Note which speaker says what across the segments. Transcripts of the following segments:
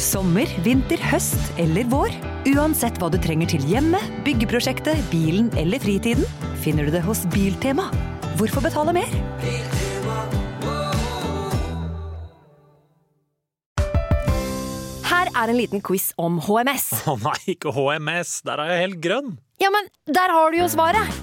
Speaker 1: Sommer, vinter, høst eller vår. Uansett hva du trenger til hjemmet, byggeprosjektet, bilen eller fritiden, finner du det hos Biltema. Hvorfor betale mer?
Speaker 2: Her er en liten quiz om HMS.
Speaker 3: Å nei, ikke HMS. Der er jeg helt grønn.
Speaker 2: Ja, men der har du jo svaret!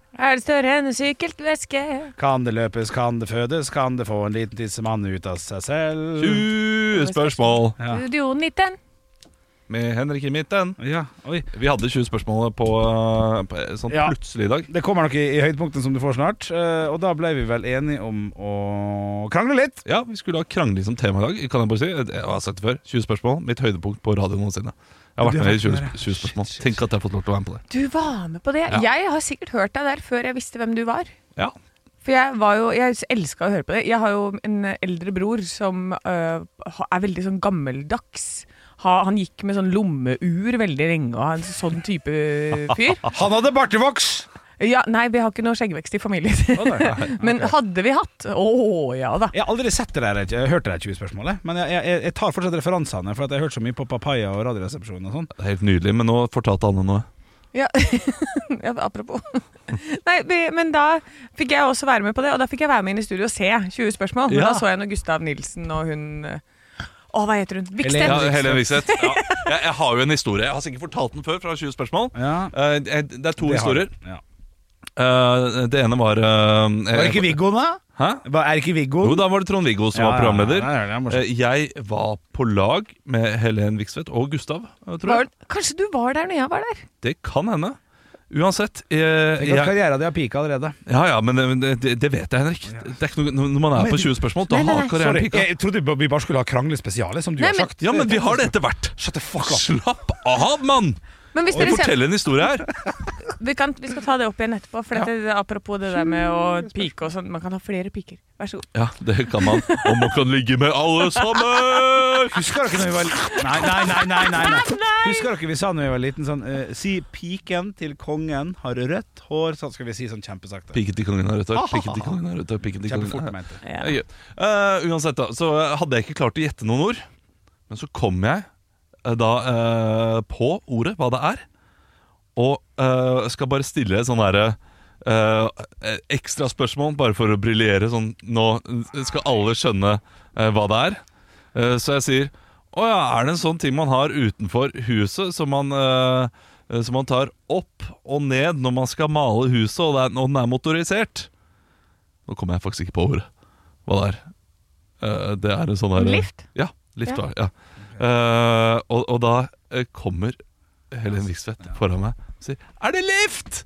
Speaker 4: Er det større enn en sykkelveske?
Speaker 5: Kan det løpes, kan det fødes, kan det få en liten tissemann ut av seg selv?
Speaker 6: 20 spørsmål
Speaker 5: Ja.
Speaker 4: Studio 19.
Speaker 6: med Henrik i midten.
Speaker 5: Ja, oi.
Speaker 6: Vi hadde 20 spørsmål på, eh, på eh, sånn
Speaker 5: Ja.
Speaker 6: plutselig i dag.
Speaker 5: Det kommer nok i, i høydepunktene som du får snart, eh, og da ble vi vel enige om å krangle litt.
Speaker 6: Ja, vi skulle ha krangling som tema i dag. Kan jeg bare si Jeg har sagt det før. 20 spørsmål. Mitt høydepunkt på radio noensinne. Jeg har
Speaker 5: Du
Speaker 6: vært med
Speaker 5: har
Speaker 6: i
Speaker 5: vært
Speaker 6: 20,
Speaker 5: med der, ja.
Speaker 6: 20 spørsmål. Tenk at jeg har fått lov til å være med på det.
Speaker 4: Du var med på det.
Speaker 6: Ja.
Speaker 4: Jeg har sikkert hørt deg der før jeg visste hvem du var.
Speaker 6: Ja.
Speaker 4: For jeg var jo, jeg elska å høre på det. Jeg har jo en eldre bror som øh, ha- er veldig sånn gammeldags. Ha, han gikk med sånn lommeur veldig lenge og er en sånn type fyr.
Speaker 5: Han hadde bartevoks!
Speaker 4: Ja, nei, vi har ikke noe skjeggvekst i familien. Men hadde vi hatt? Å ja da.
Speaker 5: Jeg har aldri sett det der, jeg hørte det der 20-spørsmålet, men jeg, jeg, jeg tar fortsatt referansene, for at jeg har hørt så mye på Papaya og Radioresepsjonen og sånn.
Speaker 6: Det er helt nydelig, men nå fortalte Anne noe.
Speaker 4: Ja, ja apropos. Nei, vi- men da fikk jeg også være med på det, og da fikk jeg være med inn i studio og se 20 spørsmål. Men
Speaker 6: Ja.
Speaker 4: Da så jeg noe Gustav Nilsen og hun eh, Å, hva heter hun?
Speaker 6: Ja,
Speaker 4: Viksten.
Speaker 5: Helene.
Speaker 6: Helene Vikseth. Ja. Jeg, jeg har jo en historie. Jeg har sikkert fortalt den før fra 20 spørsmål.
Speaker 5: Ja.
Speaker 6: Eh, jeg- Det er to
Speaker 5: Det har-
Speaker 6: historier.
Speaker 5: Ja.
Speaker 6: Eh, det ene var eh,
Speaker 5: Var det ikke Viggo, da?
Speaker 6: Hæ?
Speaker 5: Var, er det ikke Viggo?
Speaker 6: Jo, da var det Trond Viggo som
Speaker 5: Ja,
Speaker 6: var programleder.
Speaker 5: ja, ja, det er morsomt.
Speaker 6: Eh, jeg var på lag med Helen Viksvedt og Gustav, eh, tror
Speaker 4: Var,
Speaker 6: jeg.
Speaker 4: kanskje du var der når jeg var der?
Speaker 6: Det kan hende. Uansett eh,
Speaker 5: Tenk at
Speaker 6: jeg,
Speaker 5: karriera di har pika allerede.
Speaker 6: Ja ja, men eh, det, det- det vet jeg, Henrik. Det er ikke noe, når man er på 20 spørsmål, da har karrieren
Speaker 5: Sorry,
Speaker 6: pika.
Speaker 5: jeg trodde vi bare skulle ha kranglespesialet, som du
Speaker 4: Nei,
Speaker 5: har
Speaker 4: men-
Speaker 5: sagt.
Speaker 6: Ja, men vi har det etter hvert.
Speaker 5: Shut the fuck up.
Speaker 6: Slapp av, mann!
Speaker 4: Men hvis
Speaker 6: Jeg
Speaker 4: dere ser,
Speaker 6: forteller en historie her.
Speaker 4: vi, kan, vi skal ta det opp igjen etterpå. For dette, apropos det der med å pike og sånn. Man kan ha flere piker. Vær så god.
Speaker 6: Ja, det kan man. Og man kan ligge med alle sammen!
Speaker 5: Husker dere når vi var li- Nei, nei, nei, nei, nei, nei. Husker dere vi sa når vi var liten sånn eh, Si piken til kongen har rødt hår Sånn skal vi si sånn kjempesakte
Speaker 6: Piken til kongen har rødt hår, piken til kongen har rødt hår. piken til kongen
Speaker 5: Kjempefort
Speaker 6: har-
Speaker 5: mente jeg.
Speaker 4: Ja.
Speaker 6: Ja, gøy. Eh, uansett, da, så hadde jeg ikke klart å gjette noen ord. Men så kom jeg eh, da eh, på ordet, hva det er, og eh, skal bare stille et sånn derre eh, ekstra spørsmål bare for å briljere. Sånn, nå skal alle skjønne eh, hva det er. Eh, så jeg sier Å ja, er det en sånn ting man har utenfor huset som man eh, eh, som man tar opp og ned når man skal male huset, og, det er, og den er motorisert. Nå kommer jeg faktisk ikke på ordet. Hva det er. Eh, det er en sånn her
Speaker 4: Lift?
Speaker 6: Ja. Lift,
Speaker 4: Ja.
Speaker 6: var det, ja. Eh, og, og da eh, kommer Helen Viksvedt foran meg og sier 'Er det lift?'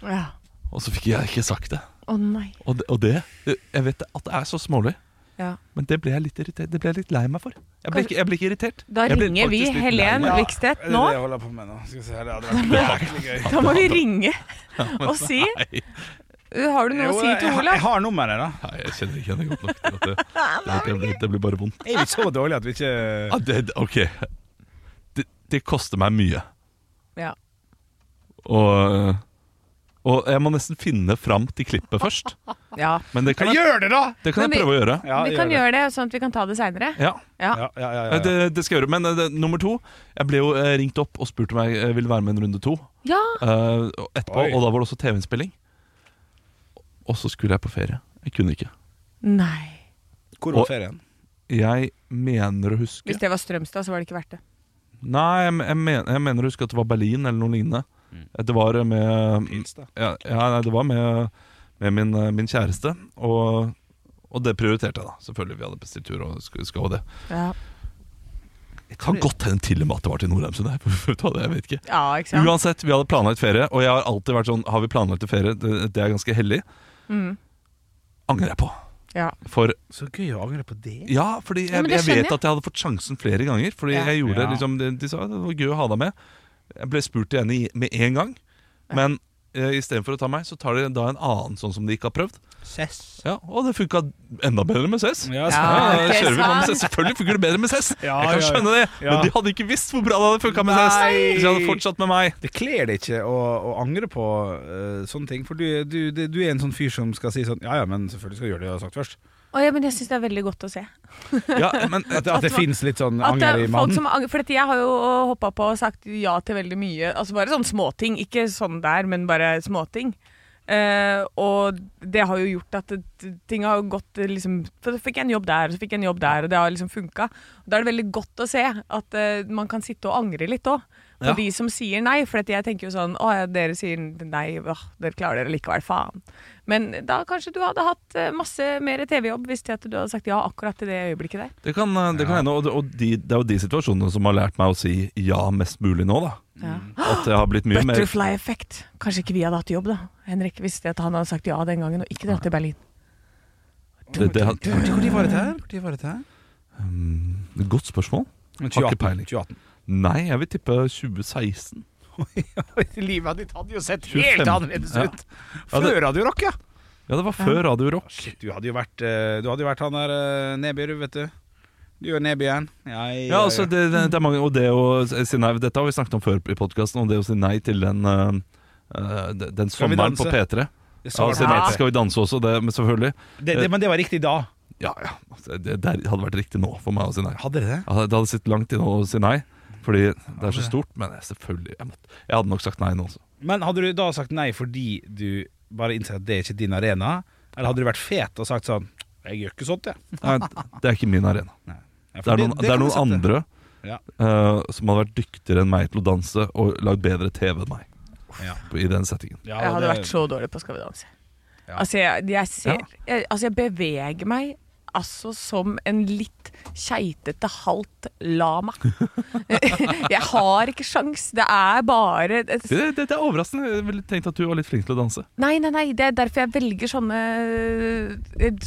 Speaker 4: Ja.
Speaker 6: Og så fikk jeg ikke sagt det.
Speaker 4: Å nei.
Speaker 6: Og det, og det Jeg vet at det er så smålig,
Speaker 4: Ja.
Speaker 6: men det ble jeg litt, irritert, det ble jeg litt lei meg for. Jeg ble, ikke, jeg ble ikke irritert.
Speaker 4: Da
Speaker 6: Jeg ble
Speaker 4: ringer vi
Speaker 6: faktisk litt lei
Speaker 4: Helen
Speaker 6: meg.
Speaker 4: Vikstedt
Speaker 5: Det er
Speaker 4: nå.
Speaker 5: det jeg holder på med nå Skal vi se her, det hadde vært jæklig gøy
Speaker 4: Da må vi ringe og si
Speaker 6: Nei,
Speaker 4: Har du noe å
Speaker 5: Jo,
Speaker 4: si
Speaker 5: jeg,
Speaker 4: til
Speaker 5: har-
Speaker 4: Olav?
Speaker 5: jeg har nummeret da
Speaker 6: nei, jeg kjenner ikke henne godt nok. til at Det, det, det, blir, det blir bare vondt.
Speaker 5: Er vi så dårlig at vi ikke
Speaker 6: Ja, det, det- ok. Det, det koster meg mye.
Speaker 4: Ja.
Speaker 6: Og, og jeg må nesten finne fram til klippet først.
Speaker 4: ja.
Speaker 6: Men det kan jeg,
Speaker 5: Gjør det da!
Speaker 6: det kan jeg
Speaker 4: Men vi-
Speaker 6: prøve å gjøre.
Speaker 5: Ja,
Speaker 4: vi kan gjøre det, sånn at vi kan ta det seinere.
Speaker 6: Ja,
Speaker 4: Ja.
Speaker 5: Ja, ja, ja,
Speaker 6: eh,
Speaker 5: ja,
Speaker 6: Det,
Speaker 5: ja.
Speaker 6: det skal jeg gjøre. Men eh, det, nummer to Jeg ble jo eh, ringt opp og spurt om jeg eh, ville være med en runde to
Speaker 4: ja.
Speaker 6: eh, og etterpå.
Speaker 5: Oi.
Speaker 6: Og da var det også TV-innspilling. Og så skulle jeg på ferie. Jeg kunne ikke.
Speaker 4: Nei.
Speaker 5: Hvor
Speaker 6: Og-
Speaker 5: var ferien?
Speaker 6: Jeg mener å huske
Speaker 4: Hvis det var Strømstad, så var det ikke verdt det.
Speaker 6: Nei, jeg, jeg, mener, jeg mener å huske at det var Berlin eller noe lignende. Det var med
Speaker 5: Insta.
Speaker 6: ja, ja, nei, det var med, med min, eh, min kjæreste, og, og det prioriterte jeg, da. Selvfølgelig. Vi hadde bestilt tur og skulle skal det.
Speaker 4: Ja,
Speaker 6: Det kan godt hende til og med at det var til Nordheimsund. jeg. Vet du hva, det- Jeg vet ikke.
Speaker 4: ikke sant?
Speaker 6: Uansett, vi hadde planlagt ferie, og jeg har alltid vært sånn Har vi planlagt en ferie? Det, det er ganske hellig.
Speaker 4: Mm.
Speaker 6: Angrer jeg på.
Speaker 4: Ja.
Speaker 6: For
Speaker 5: Så gøy å angre på det
Speaker 6: Ja, fordi jeg,
Speaker 4: men det
Speaker 6: jeg vet
Speaker 4: skjønner jeg.
Speaker 6: at jeg hadde fått sjansen flere ganger. Fordi
Speaker 4: Ja.
Speaker 6: jeg gjorde
Speaker 5: Ja.
Speaker 6: liksom de, de sa det var gøy å ha deg med. Jeg ble spurt igjen i, med en gang. Men eh, istedenfor å ta meg, så tar de da en annen sånn som de ikke har prøvd.
Speaker 5: Sess.
Speaker 6: Ja, Og det funka enda bedre med CES.
Speaker 5: Ja,
Speaker 6: Ja, da
Speaker 4: ok,
Speaker 6: kjører vi på med
Speaker 4: sant.
Speaker 6: CES. Selvfølgelig funker det bedre med CES.
Speaker 5: Ja,
Speaker 6: jeg kan
Speaker 5: ja, ja.
Speaker 6: skjønne det,
Speaker 5: Ja.
Speaker 6: men de hadde ikke visst hvor bra det hadde funka med CES
Speaker 5: Nei.
Speaker 6: hvis de hadde fortsatt med meg.
Speaker 5: Det kler deg ikke å, å angre på eh, sånne ting. For du, du, du, du er en sånn fyr som skal si sånn Ja ja, men selvfølgelig skal du gjøre det du har sagt først.
Speaker 4: Å, ja, men jeg syns det er veldig godt å se.
Speaker 6: Ja, men
Speaker 5: At, at det
Speaker 4: At-
Speaker 5: finnes litt sånn
Speaker 4: At det
Speaker 5: anger
Speaker 4: er
Speaker 5: i
Speaker 4: folk
Speaker 5: mannen.
Speaker 4: som angrer, for dette, Jeg har jo hoppa på og sagt ja til veldig mye. Altså Bare sånne småting. Ikke sånn der, men bare småting. Eh, og det har jo gjort at det, ting har jo gått eh, liksom, for Så fikk jeg en jobb der, og så fikk jeg en jobb der, og det har liksom funka. Da er det veldig godt å se at eh, man kan sitte og angre litt òg. På
Speaker 6: Ja.
Speaker 4: de som sier nei. For dette, jeg tenker jo sånn Å ja, dere sier nei, åh, dere klarer dere likevel, faen. Men da kanskje du hadde hatt eh, masse mer TV-jobb hvis det at du hadde sagt ja akkurat i det øyeblikket der.
Speaker 6: Det kan, eh, det kan hende, og, det- og de, det er jo de situasjonene som har lært meg å si ja mest mulig nå, da.
Speaker 4: Ja.
Speaker 6: At jeg har blitt mye mer
Speaker 4: Butterfly-effekt. Kanskje ikke vi hadde hatt jobb, da. Henrik visste at han hadde sagt ja den gangen, og ikke dratt til Berlin.
Speaker 6: det, det,
Speaker 5: Du,
Speaker 6: har-
Speaker 5: Når var dette her? Når var dette her?
Speaker 6: Mm, Godt spørsmål. Har ikke
Speaker 5: 2018.
Speaker 6: peiling.
Speaker 5: 2018.
Speaker 6: Nei, jeg vil tippe 2016.
Speaker 5: Livet ditt hadde jo sett
Speaker 6: 25.
Speaker 5: helt annerledes
Speaker 6: Ja.
Speaker 5: ut!
Speaker 6: Ja,
Speaker 5: Før
Speaker 6: det-
Speaker 5: Radio Rock, ja!
Speaker 6: Ja, det var før Radio Rock.
Speaker 5: Shit, du hadde jo vært, eh, du hadde jo vært han der eh, Neby, du, vet du. Du og Nebyeren. Ja, ja,
Speaker 6: Ja, altså, det, det, det er mange, og det å si nei Dette har vi snakket om før i podkasten, og det å si nei til den øh, øh, den- den
Speaker 5: Skal vi
Speaker 6: sommeren på
Speaker 5: danse?
Speaker 6: P3.
Speaker 5: Det
Speaker 6: Ja,
Speaker 5: sa
Speaker 6: si
Speaker 5: du.
Speaker 6: nei til Skal vi danse også, det, men selvfølgelig.
Speaker 5: det, det, men det var riktig da.
Speaker 6: Ja, ja. altså, Det, det hadde vært riktig nå for meg å si nei.
Speaker 5: Hadde dere det?
Speaker 6: Ja, Det hadde sittet langt inne å si nei, fordi det er så stort. Men jeg, selvfølgelig jeg, måtte, jeg hadde nok sagt nei nå også.
Speaker 5: Men hadde du da sagt nei fordi du bare innser at det er ikke din arena? Eller hadde du vært fet og sagt sånn Jeg gjør ikke sånt, jeg.
Speaker 6: Nei, det er ikke min arena.
Speaker 5: Ja,
Speaker 6: Det
Speaker 5: for
Speaker 6: er noen, det er
Speaker 5: kan
Speaker 6: noen
Speaker 5: jeg sette.
Speaker 6: andre
Speaker 5: Ja.
Speaker 6: øh, som hadde vært dyktigere enn meg til å danse og lagd bedre TV enn meg.
Speaker 5: Ja.
Speaker 6: på- I den settingen.
Speaker 5: Ja,
Speaker 4: Jeg hadde
Speaker 5: det-
Speaker 4: vært så dårlig på Skal vi danse.
Speaker 5: Ja.
Speaker 4: Altså, jeg, jeg ser
Speaker 6: Ja.
Speaker 4: jeg, Altså, jeg beveger meg altså som en litt keitete, halvt lama. jeg har ikke sjans. Det er bare et,
Speaker 6: Det, det, det er overraskende. Jeg ville tenkt at du var litt flink til å danse.
Speaker 4: Nei, nei, nei, det er derfor jeg velger sånne eh,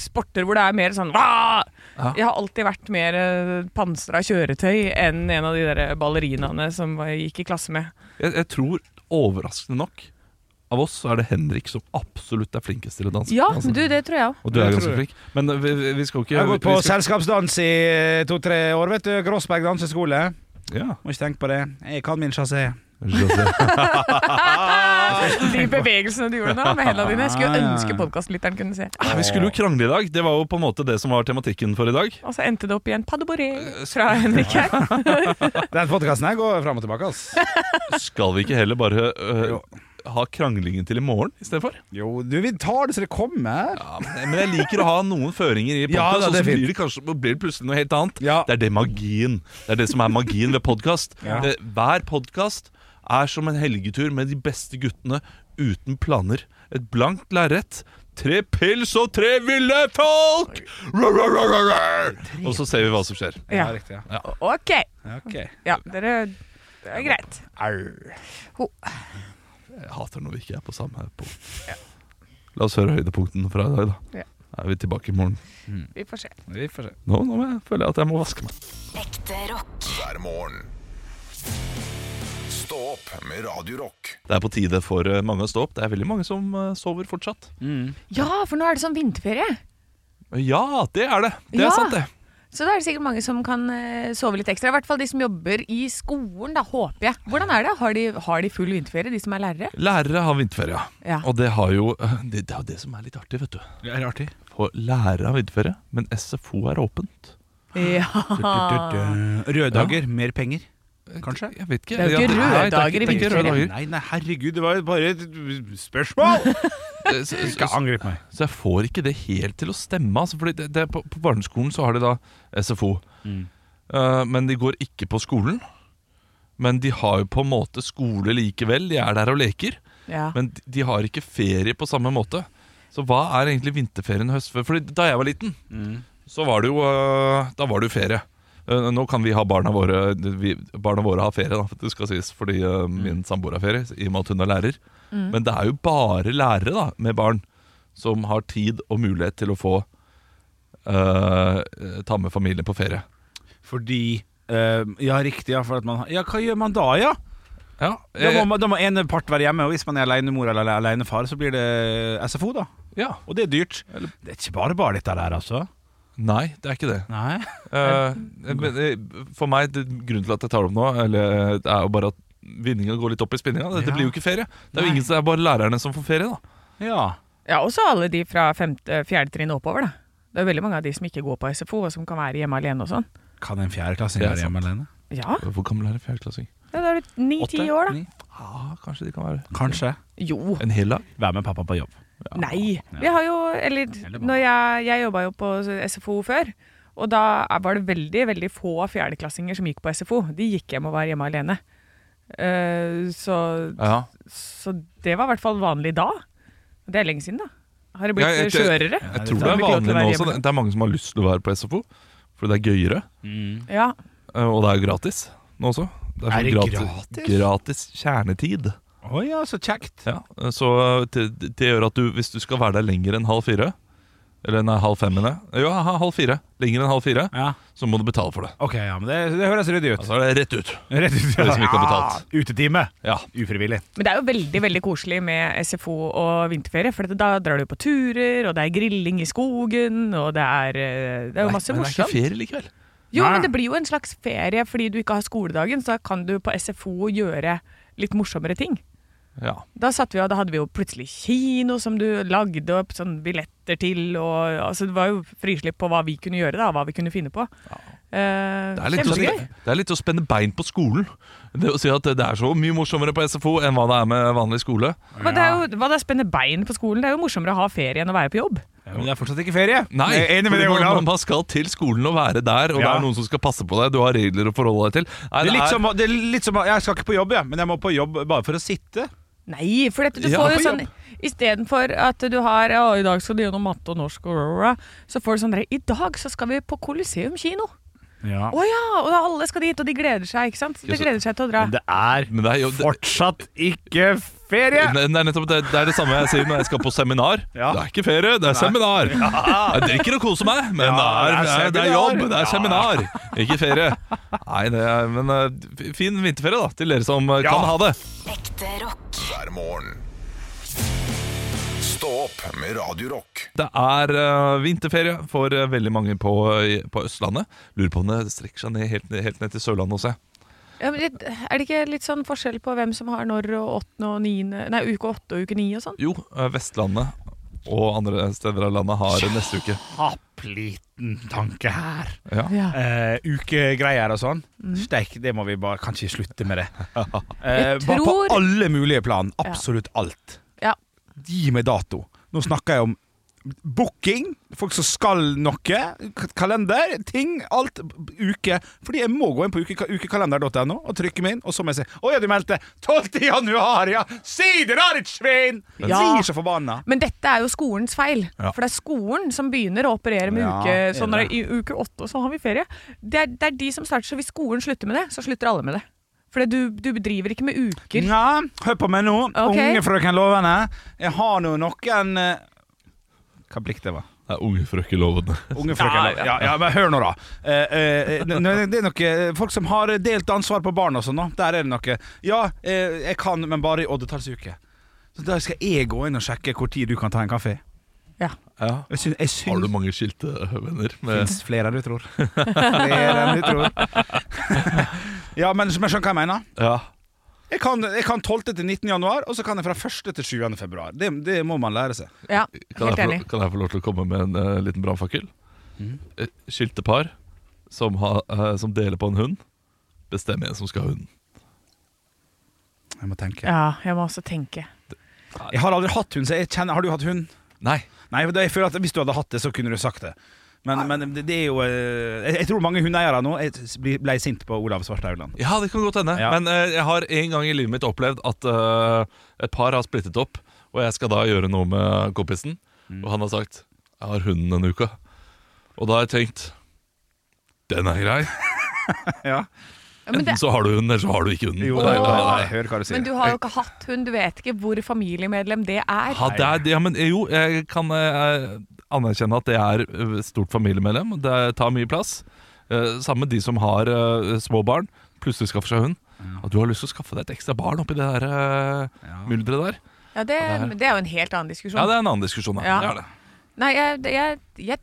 Speaker 4: sporter hvor det er mer sånn «Wah!»
Speaker 6: Ja.
Speaker 4: Jeg har alltid vært mer eh, pansra kjøretøy enn en av de der ballerinaene som jeg gikk i klasse med.
Speaker 6: Jeg, jeg tror overraskende nok av oss så er det Henrik som absolutt er flinkest til å danse.
Speaker 4: Ja,
Speaker 6: danse.
Speaker 4: men du, det tror jeg òg.
Speaker 6: og du er
Speaker 5: Jeg
Speaker 6: ganske
Speaker 5: tror det.
Speaker 6: flink. Men vi, vi- vi skal ikke
Speaker 5: Jeg har gått på
Speaker 6: vi skal,
Speaker 5: selskapsdans i eh, to-tre år, vet du. Grossberg danseskole.
Speaker 6: ja.
Speaker 5: Må ikke tenke på det. Jeg kan min chassé.
Speaker 4: De bevegelsene du gjorde nå med hendene dine. Jeg
Speaker 5: Ah,
Speaker 4: skulle
Speaker 5: ja.
Speaker 4: ønske podkastlytteren kunne se.
Speaker 6: Nei, Vi skulle jo krangle i dag. Det var jo på en måte det som var tematikken for i dag.
Speaker 4: Og så endte det opp i en padeboré fra Henrik her.
Speaker 5: Den podkasten her går fram og tilbake, ass.
Speaker 6: Skal vi ikke heller bare øh,
Speaker 5: Jo.
Speaker 6: ha kranglingen til i morgen istedenfor?
Speaker 5: Jo, du, vi tar det så det kommer.
Speaker 6: Ja, men, men jeg liker å ha noen føringer i
Speaker 5: Ja,
Speaker 6: podkast,
Speaker 5: da,
Speaker 6: og
Speaker 5: det er
Speaker 6: så
Speaker 5: fint.
Speaker 6: blir det, kanskje, blir det plutselig noe helt annet.
Speaker 4: Ah.
Speaker 5: Ja.
Speaker 6: Det er det magien. Det er det som er magien ved podkast.
Speaker 5: Ja.
Speaker 6: Hver podkast er som en helgetur med de beste guttene uten planer. Et blankt lerret. Tre pils og tre ville folk! Rar, rar, rar, rar, rar. Og så ser vi hva som skjer.
Speaker 4: Ja.
Speaker 5: riktig. Ja.
Speaker 4: OK.
Speaker 5: Ok.
Speaker 4: Ja, dere Det er greit.
Speaker 5: Arr.
Speaker 6: Jeg hater når vi ikke er på samme punkt. La oss høre høydepunkten fra i dag, da.
Speaker 4: Ja.
Speaker 6: Er vi tilbake i morgen?
Speaker 4: Vi får se.
Speaker 5: Vi får se.
Speaker 6: Nå, nå må jeg- føler jeg at jeg må vaske meg.
Speaker 7: hver morgen. Stå opp med Radio Rock.
Speaker 6: Det er på tide for eh, mange å stå opp. Det er veldig mange som eh, sover fortsatt.
Speaker 4: Mm. Ja, for nå er det sånn vinterferie.
Speaker 6: Ja, det er det. Det
Speaker 4: Ja.
Speaker 6: er sant, det.
Speaker 4: Så da er det sikkert mange som kan eh, sove litt ekstra. I hvert fall de som jobber i skolen, da, håper jeg. Hvordan er det? Har de, har de full vinterferie, de som er lærere?
Speaker 6: Lærere har vinterferie.
Speaker 4: Ja.
Speaker 6: Og det har jo eh, det, det er jo det som er litt artig, vet du.
Speaker 5: Det er artig.
Speaker 6: For lærere har vinterferie, men SFO er åpent.
Speaker 4: Ja.
Speaker 5: Røde dager, mer penger. Kanskje?
Speaker 6: Jeg vet ikke.
Speaker 4: Det er jo ikke
Speaker 6: Ja,
Speaker 4: røde
Speaker 6: nei, det er
Speaker 4: dager i
Speaker 6: ikke- det er ikke røde
Speaker 4: vinterferie.
Speaker 6: dager.
Speaker 5: Nei, nei, herregud, det var jo bare et spørsmål!
Speaker 6: Eh, Så,
Speaker 5: Ikke
Speaker 6: så,
Speaker 5: angrip meg.
Speaker 6: så jeg får ikke det helt til å stemme. Altså, fordi det, det, på, på barneskolen så har de da SFO. Eh, men de går ikke på skolen. Men de har jo på en måte skole likevel. De er der og leker.
Speaker 4: Ja.
Speaker 6: Men de- de har ikke ferie på samme måte. Så hva er egentlig vinterferien og høstferien? Fordi da jeg var liten, så var det jo øh, Da var det jo ferie. Øh, Nå kan vi ha barna våre vi, Barna våre har ferie, da, for det skal sies, fordi øh, min samboer har ferie, i og med at hun er lærer. Men det er jo bare lærere da med barn som har tid og mulighet til å få øh, ta med familien på ferie.
Speaker 5: Fordi eh, Ja, riktig, ja. For at man, har- ja, hva gjør man da, ja?
Speaker 6: Ja,
Speaker 5: Da må,
Speaker 6: jeg,
Speaker 5: man- da må en part være hjemme, og hvis man er alenemor eller ale- alenefar, så blir det eh, SFO, da.
Speaker 6: ja.
Speaker 5: Og det er dyrt. Det er ikke bare bare dette der, altså.
Speaker 6: Nei, det er ikke det.
Speaker 5: Nei.
Speaker 6: Eh, men, eh, for meg, det, Grunnen til at jeg tar det opp nå, eller, det er jo bare at vinninga går litt opp i spinninga. Dette
Speaker 5: Ja.
Speaker 6: blir jo ikke ferie. Det er
Speaker 5: Nei.
Speaker 6: jo ingen, det er bare lærerne som får ferie. da
Speaker 5: Ja.
Speaker 4: Ja, også alle de fra femte, fjerde trinn og oppover, da. Det er jo veldig mange av de som ikke går på SFO, og som kan være hjemme alene og sånn.
Speaker 5: Kan en fjerdeklassing
Speaker 6: Det er
Speaker 5: være hjemme alene?
Speaker 4: Ja,
Speaker 6: Hvor gammel er en fjerdeklassing?
Speaker 4: ja, da er du ni-ti år, da.
Speaker 5: Ni?
Speaker 6: Ah, kanskje de kan være
Speaker 5: Kanskje.
Speaker 4: Jo.
Speaker 6: en hel dag?
Speaker 5: Vær med pappa på jobb.
Speaker 4: Nei. Vi har jo Eller, når jeg, jeg jobba jo på SFO før. Og da er- var det veldig veldig få fjerdeklassinger som gikk på SFO. De gikk hjem og var hjemme alene. Eh, så,
Speaker 6: Ja.
Speaker 4: så det var i hvert fall vanlig da. Det er lenge siden, da. Har det blitt
Speaker 6: Ja, jeg-
Speaker 4: skjørere?
Speaker 6: Jeg tror det
Speaker 4: tar
Speaker 6: er
Speaker 4: vi ikke
Speaker 6: vanlig
Speaker 4: lov til å
Speaker 6: nå
Speaker 4: være
Speaker 6: også.
Speaker 4: hjemme.
Speaker 6: Det er mange som har lyst til å være på SFO, fordi det er gøyere.
Speaker 4: Ja.
Speaker 6: eh, Og det er jo gratis nå også. Det er,
Speaker 5: Er det
Speaker 6: sånn gratis, gratis kjernetid.
Speaker 5: Å ja, så kjekt.
Speaker 6: Ja, eh, Så det, det gjør at du, hvis du skal være der lenger enn halv fire Eller nei, halv fem, mener jeg. Jo, ha- halv fire. Lenger enn halv fire,
Speaker 5: Ja.
Speaker 6: så må du betale for det.
Speaker 5: Ok, ja, men det, det høres ryddig ut.
Speaker 6: Altså er det rett ut.
Speaker 5: Rett ut.
Speaker 6: det som ikke har betalt.
Speaker 5: Ja, utetime.
Speaker 6: Ja.
Speaker 5: Ufrivillig.
Speaker 4: Men det er jo veldig veldig koselig med SFO og vinterferie, for da drar du på turer, og det er grilling i skogen, og det er, eh, det er jo masse
Speaker 6: men det er ikke
Speaker 4: morsomt.
Speaker 6: ferie likevel.
Speaker 4: Jo,
Speaker 5: Nei.
Speaker 4: men det blir jo en slags ferie fordi du ikke har skoledagen, så da kan du på SFO gjøre litt morsommere ting.
Speaker 6: Ja.
Speaker 4: Da satt vi og da hadde vi jo plutselig kino som du lagde opp sånn billetter til, og altså det var jo frislipp på hva vi kunne gjøre da, og hva vi kunne finne på. Eh,
Speaker 6: Det er, litt sånn- å,
Speaker 4: Kjempegøy.
Speaker 6: det er litt å spenne bein på skolen. Det å si at det er så mye morsommere på SFO enn hva det er med vanlig skole.
Speaker 4: Hva det er jo hva det er å spenne bein på skolen? Det er jo morsommere å ha ferie enn å være på jobb.
Speaker 5: Ja, men det er fortsatt ikke ferie.
Speaker 6: Nei,
Speaker 5: Jeg er enig
Speaker 6: fordi
Speaker 5: med deg,
Speaker 6: man-
Speaker 5: Olav.
Speaker 6: man, man skal til skolen og være der, og det
Speaker 5: Ja.
Speaker 6: er noen som skal passe på deg. Du har regler å forholde deg til. Nei,
Speaker 5: Det er
Speaker 6: det
Speaker 5: litt
Speaker 6: er-
Speaker 5: som, å- det er litt som å- Jeg skal ikke på jobb, jeg, men jeg må på jobb bare for å sitte.
Speaker 4: Nei, for dette, du
Speaker 6: Ja,
Speaker 4: får jo
Speaker 6: på
Speaker 4: sånn Istedenfor at du har ja, 'i dag skal du gjennom matte og norsk', og rå, rå, så får du sånn der, 'i dag så skal vi på Coliseum kino'.
Speaker 5: Ja.
Speaker 4: Å ja! Og da alle skal dit, og de gleder seg, ikke sant? De
Speaker 6: så-
Speaker 4: gleder seg til å dra.
Speaker 5: Det er
Speaker 6: men det er jo det,
Speaker 5: fortsatt ikke ferie!
Speaker 6: det er nettopp det, det er det samme jeg sier når jeg skal på seminar.
Speaker 5: Ja.
Speaker 6: Det er ikke ferie, det er seminar. Jeg drikker og koser meg, men det, er, det,
Speaker 5: Ja,
Speaker 6: er,
Speaker 5: det er seminar.
Speaker 6: jobb, det er seminar. Ikke ferie. Nei, det er, men eh, fin vinterferie da, til dere som eh,
Speaker 5: Ja.
Speaker 6: kan ha det.
Speaker 7: hver morgen. Stå opp med Radio Rock.
Speaker 6: Det er eh, vinterferie for eh, veldig mange på, i- på Østlandet. Lurer på om det strekker seg ned, helt, ned- helt ned til Sørlandet også. jeg.
Speaker 4: Ja, men det- er det ikke litt sånn forskjell på hvem som har når og åttende og niende Nei, uke åtte og uke ni og sånn?
Speaker 6: Jo, eh, Vestlandet og andre steder av landet har neste uke.
Speaker 5: Kappliten tanke her.
Speaker 6: Ja.
Speaker 4: Ja.
Speaker 5: Eh, ukegreier og sånn.
Speaker 4: Mm.
Speaker 5: Steik, det må vi bare Kan ikke slutte med det. Eh,
Speaker 4: Jeg
Speaker 5: bare
Speaker 4: tror-
Speaker 5: på alle mulige plan. Absolutt alt.
Speaker 4: Ja.
Speaker 5: Gi meg dato. Nå snakker jeg om booking, folk som skal noe, k- kalender, ting, alt. b- Uke. Fordi jeg må gå inn på uke, ukekalender.no og trykke meg inn, og så må jeg si Å ja, du meldte 12. januar, ja! Si det da, ditt svin!
Speaker 4: Ja.
Speaker 5: Blir så forbanna.
Speaker 4: Men dette er jo skolens feil.
Speaker 6: Ja.
Speaker 4: For det er skolen som begynner å operere med
Speaker 5: Ja,
Speaker 4: uke
Speaker 5: enig.
Speaker 4: sånn når, det- I uke åtte, og så har vi ferie. Det er, det er de som starter, så hvis skolen slutter med det, så slutter alle med det. For du, du driver ikke med uker.
Speaker 5: Ja, hør på meg nå,
Speaker 4: Ok.
Speaker 5: unge frøken Lovende. Jeg har nå noen eh, Hva blikk det var?
Speaker 6: Det er unge frøkelovene.
Speaker 5: Unge frøken
Speaker 4: Ja,
Speaker 5: Lovende. Ja, ja, men hør nå, da. Eh, eh, eh, n- det er noe folk som har delt ansvar på barn og sånn. da. Der er det noe. Ja, eh, jeg kan, men bare i oddetallsuke. Så Da skal jeg gå inn og sjekke hvor tid du kan ta en kaffe.
Speaker 4: Ja.
Speaker 6: Ja.
Speaker 5: Jeg syns, jeg syns
Speaker 6: Har du mange skilte venner? Med,
Speaker 5: finnes flere enn du tror. Flere enn du tror. ja, men, men skjønner hva jeg mener?
Speaker 6: ja.
Speaker 5: Jeg kan, jeg kan 12. til 19. januar, og så kan jeg fra 1. til 7. februar. Det, det må man lære seg.
Speaker 4: Ja,
Speaker 6: Kan jeg,
Speaker 4: helt enig.
Speaker 6: få, kan jeg få lov til å komme med en eh, liten brannfakkel? Et Skilte par som, har, eh, som deler på en hund, bestemmer en som skal ha hunden.
Speaker 5: Jeg må tenke.
Speaker 4: Ja, jeg må også tenke.
Speaker 5: Jeg har aldri hatt hund, så jeg kjenner Har du hatt hund?
Speaker 6: Nei,
Speaker 5: Nei, for det- jeg føler at hvis du hadde hatt det, så kunne du sagt det. Men, men det, det er jo eh, Jeg, jeg tror mange hundeeiere nå eh, blir- ble sint på Olav Svarthaugland.
Speaker 6: Ja, det kan godt hende.
Speaker 5: Ja.
Speaker 6: Men eh, jeg har en gang i livet mitt opplevd at eh, et par har splittet opp, og jeg skal da gjøre noe med kompisen. Og han har sagt 'jeg har hunden denne uka'. Og da har jeg tenkt den er grei.
Speaker 5: Ja.
Speaker 4: Ja, Men, det,
Speaker 6: Enten så har du hunden, eller så har du ikke hunden.
Speaker 5: Jo,
Speaker 6: Det er jo-
Speaker 5: nei, nei, hør hva du sier.
Speaker 4: men du har jo ikke hatt hund, du vet ikke hvor familiemedlem det er.
Speaker 6: Ja, det er, det- ja, men eh, jo, jeg kan eh, anerkjenne at det er eh, stort familiemedlem. og Det tar mye plass. Eh, Sammen med de som har eh, små barn, plutselig skaffer seg hund. At du har lyst til å skaffe deg et ekstra barn oppi det der eh, mylderet der.
Speaker 4: Ja, det,
Speaker 6: Ja, det er-
Speaker 4: det er jo en helt annen diskusjon.
Speaker 6: Ja, det er en annen diskusjon. Ja.
Speaker 4: Ja.
Speaker 6: Det er det.
Speaker 4: Nei, jeg, det- jeg, jeg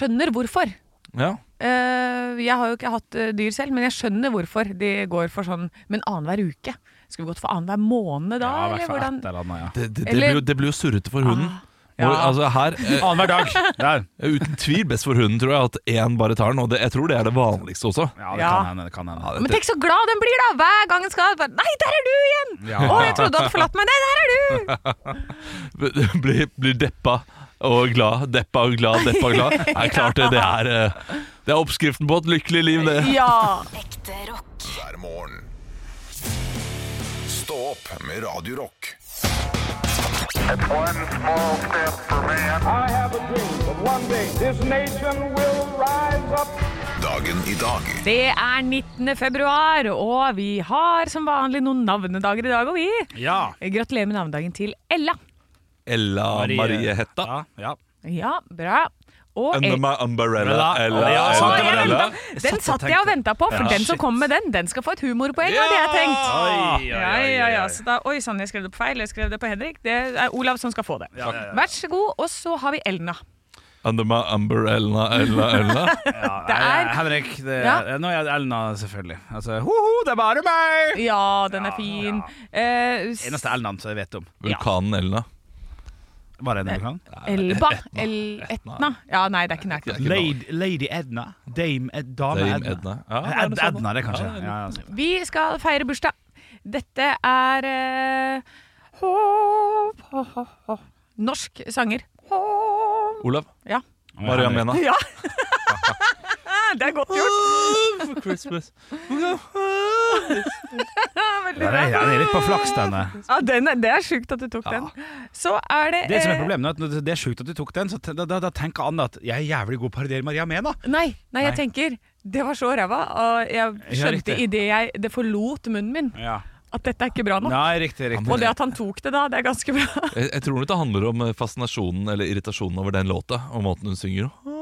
Speaker 4: skjønner hvorfor.
Speaker 6: Ja.
Speaker 4: Eh, jeg har jo ikke hatt eh, dyr selv, men jeg skjønner hvorfor de går for sånn Men annenhver uke? Skulle vi gått for annenhver måned da?
Speaker 5: Ja, eh. i
Speaker 4: eller
Speaker 5: hvert fall
Speaker 4: hvordan?
Speaker 5: et eller annet, ja.
Speaker 6: Det, det, det,
Speaker 4: Eller- Ah,
Speaker 6: blir jo, det blir jo surrete for hunden.
Speaker 4: ja.
Speaker 6: Hvor, altså her, eh,
Speaker 5: Annenhver dag. Der.
Speaker 6: Uten tvil best for hunden, tror jeg, at én bare tar den. Og det, jeg tror det er det vanligste også.
Speaker 5: Ja, det
Speaker 4: Ja.
Speaker 5: kan hende. Det kan hende.
Speaker 6: Ja,
Speaker 4: Men
Speaker 6: det,
Speaker 4: tenk så glad den blir, da! Hver gang den skal bare, Nei, der er du igjen!
Speaker 5: Ja.
Speaker 4: Å, jeg trodde du hadde forlatt meg. Nei, der er du!
Speaker 6: blir, blir deppa og glad, deppa og glad, deppa og glad. Det er klart det. Det er, eh, det er oppskriften på et lykkelig liv, det.
Speaker 4: Ja.
Speaker 7: hver morgen. Stå opp med Radio Rock.
Speaker 8: One small step for man. I have a dream that one day this nation will rise up.
Speaker 7: Dagen i dag
Speaker 4: Det er 19. februar, og vi har som vanlig noen navnedager i dag, og vi
Speaker 5: Ja.
Speaker 4: Gratulerer med navnedagen til Ella.
Speaker 6: Ella Marie Hetta.
Speaker 5: Ja, ja.
Speaker 4: Ja, bra. Og
Speaker 6: Under my umbrella.
Speaker 5: Umbrella.
Speaker 6: Ella,
Speaker 5: Ja,
Speaker 6: Ella,
Speaker 5: sant, det var
Speaker 6: Ella.
Speaker 5: den.
Speaker 4: Den satt jeg og venta på, for den som kommer med den, den skal få et humorpoeng. Var det jeg tenkt.
Speaker 5: Ja! Oi, oi,
Speaker 4: Ja,
Speaker 5: oi,
Speaker 4: ja,
Speaker 5: oi,
Speaker 4: ja.
Speaker 5: oi.
Speaker 4: Så da, oi sann, jeg skrev det på feil. Jeg skrev det på Henrik. Det er Olav som skal få det.
Speaker 5: Ja, ja, ja.
Speaker 4: Vær så god. Og så har vi Elna.
Speaker 6: Under my umbrella, Ella, Ella.
Speaker 5: Ja,
Speaker 4: Det er-
Speaker 5: eh, Henrik, det er,
Speaker 4: Ja.
Speaker 5: nå er det Elna, selvfølgelig. Altså, hoho, det er bare meg!
Speaker 4: Ja, den er
Speaker 5: Ja,
Speaker 4: fin.
Speaker 5: ja.
Speaker 4: Eh, s-
Speaker 5: Eneste Elnaen som jeg vet om.
Speaker 6: Vulkanen Elna.
Speaker 5: Bare en vulkan.
Speaker 4: Elba. El Etna. Ja, nei, det er ikke nært.
Speaker 6: Det er ikke navn.
Speaker 5: Lady, Lady Edna. Dame, Ed, dame
Speaker 6: Dame
Speaker 5: Edna.
Speaker 6: Edna. Ja, det er
Speaker 5: Ed,
Speaker 6: noe sånt.
Speaker 5: Edna, det er kanskje.
Speaker 6: Ja, det er
Speaker 5: Ja, altså.
Speaker 4: Vi skal feire bursdag. Dette er eh, ho- ho- ho- ho. Norsk sanger. Ho-
Speaker 6: Olav.
Speaker 4: Ja.
Speaker 6: Maria Mena.
Speaker 4: ja. Det er godt gjort.
Speaker 6: For Christmas.
Speaker 5: Ja, det, er, ja, det er litt på flaks, denne.
Speaker 4: Ja, den er, det er sjukt at du tok den. Så er det
Speaker 5: Det som er
Speaker 4: eh,
Speaker 5: problemet er at når Det er sjukt at du tok den, så te- da, da, da tenker Anne at jeg er jævlig god på å parodiere Maria Mena.
Speaker 4: Nei, nei, jeg tenker det var så ræva, og jeg
Speaker 5: Ja,
Speaker 4: skjønte
Speaker 5: riktig.
Speaker 4: i det jeg Det forlot munnen min at dette er ikke bra nok.
Speaker 5: Nei, riktig, riktig.
Speaker 4: Og det at han tok det da, det er ganske bra.
Speaker 6: Jeg, jeg tror nok det handler om eh, fascinasjonen eller irritasjonen over den låta og måten hun synger på.
Speaker 4: Mm,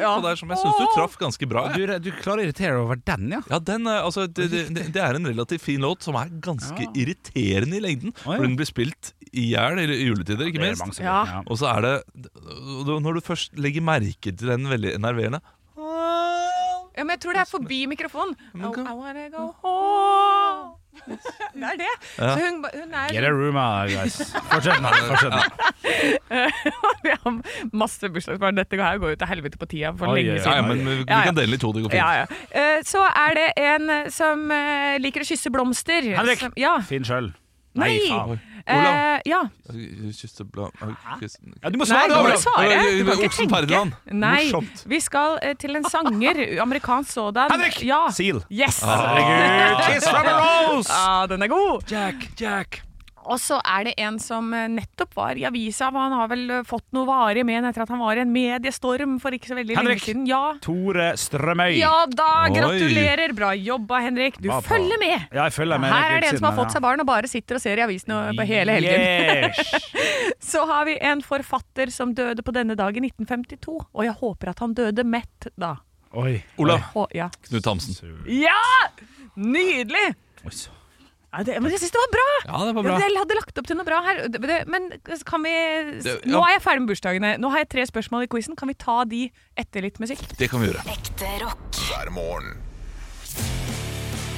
Speaker 4: Ja.
Speaker 6: Og det er som jeg syns du traff ganske bra. jeg.
Speaker 5: Du, du klarer å irritere deg over den, ja?
Speaker 6: Ja, den, eh, altså, det, det, det det er en relativt fin låt som er ganske irriterende i lengden.
Speaker 5: ja.
Speaker 6: For den blir spilt i hjel i juletider, ikke
Speaker 5: Det er mange
Speaker 6: minst.
Speaker 5: som-
Speaker 4: Ja.
Speaker 5: ja.
Speaker 6: Og så er det og da- Når du først legger merke til den veldig enerverende
Speaker 4: Ja, men jeg tror det er forbi mikrofonen. I,
Speaker 6: Men hva-
Speaker 4: I wanna go home. Det er det. Så hun, ba- hun
Speaker 5: Get a
Speaker 4: er
Speaker 5: room, ah, guys. Fortsett nå. Fortsett nå.
Speaker 4: Vi har masse bursdagsbarn. Dette her går jo til helvete på tida for
Speaker 5: Oi,
Speaker 4: lenge
Speaker 5: oi,
Speaker 4: siden.
Speaker 6: Ja, ja, men vi, vi
Speaker 4: Ja, ja.
Speaker 6: kan dele den i to, det går fint.
Speaker 4: Ja, ja. Eh, Så er det en eh, som eh, liker å kysse blomster.
Speaker 5: Henrik!
Speaker 4: Som, ja.
Speaker 5: Finn sjøl.
Speaker 4: Nei!
Speaker 5: faen.
Speaker 6: Olav.
Speaker 4: Eh, ja.
Speaker 6: Kysse blå
Speaker 5: Ja, du må
Speaker 4: Nei,
Speaker 5: svare,
Speaker 4: du må
Speaker 5: da, Olav!
Speaker 4: ikke svare.
Speaker 6: Olav,
Speaker 4: Du kan
Speaker 6: Olsen
Speaker 4: ikke tenke.
Speaker 6: Ferdinand.
Speaker 4: Nei,
Speaker 6: Morsomt.
Speaker 4: vi skal eh, til en sanger. Amerikansk sådan.
Speaker 5: Henrik!
Speaker 4: Ja.
Speaker 5: Seal.
Speaker 4: Yes!
Speaker 5: Herregud, kiss from a rose!
Speaker 4: Ja, den er god.
Speaker 5: Jack, Jack.
Speaker 4: Og så er det en som eh, nettopp var i avisa. for Han har vel eh, fått noe varig med etter at han var i en mediestorm for ikke så veldig
Speaker 5: Henrik.
Speaker 4: lenge siden. Ja.
Speaker 5: Tore Strømøy.
Speaker 4: ja da,
Speaker 6: Oi.
Speaker 4: gratulerer. Bra jobba, Henrik. Du
Speaker 5: Hva på?
Speaker 4: følger med.
Speaker 5: Ja, jeg følger med.
Speaker 4: Her er det en som har fått seg barn og bare sitter og ser i avisen og- på hele helgen.
Speaker 5: Yes.
Speaker 4: Så har vi en forfatter som døde på denne dag i 1952, og jeg håper at han døde mett da.
Speaker 5: Oi.
Speaker 6: Olav.
Speaker 4: Å, ja.
Speaker 6: Knut Hamsen.
Speaker 4: ja! Nydelig!
Speaker 5: Oi, så.
Speaker 4: Ja, det, men jeg syns det var bra!
Speaker 6: Ja, det var
Speaker 4: Ja,
Speaker 6: bra.
Speaker 4: Jeg hadde lagt opp til noe bra her. Det- det- Men kan vi
Speaker 6: Det- ja.
Speaker 4: Nå er jeg ferdig med bursdagene. Nå har jeg tre spørsmål i quizen. Kan vi ta de etter litt musikk?
Speaker 6: Det kan vi gjøre.
Speaker 7: hver morgen.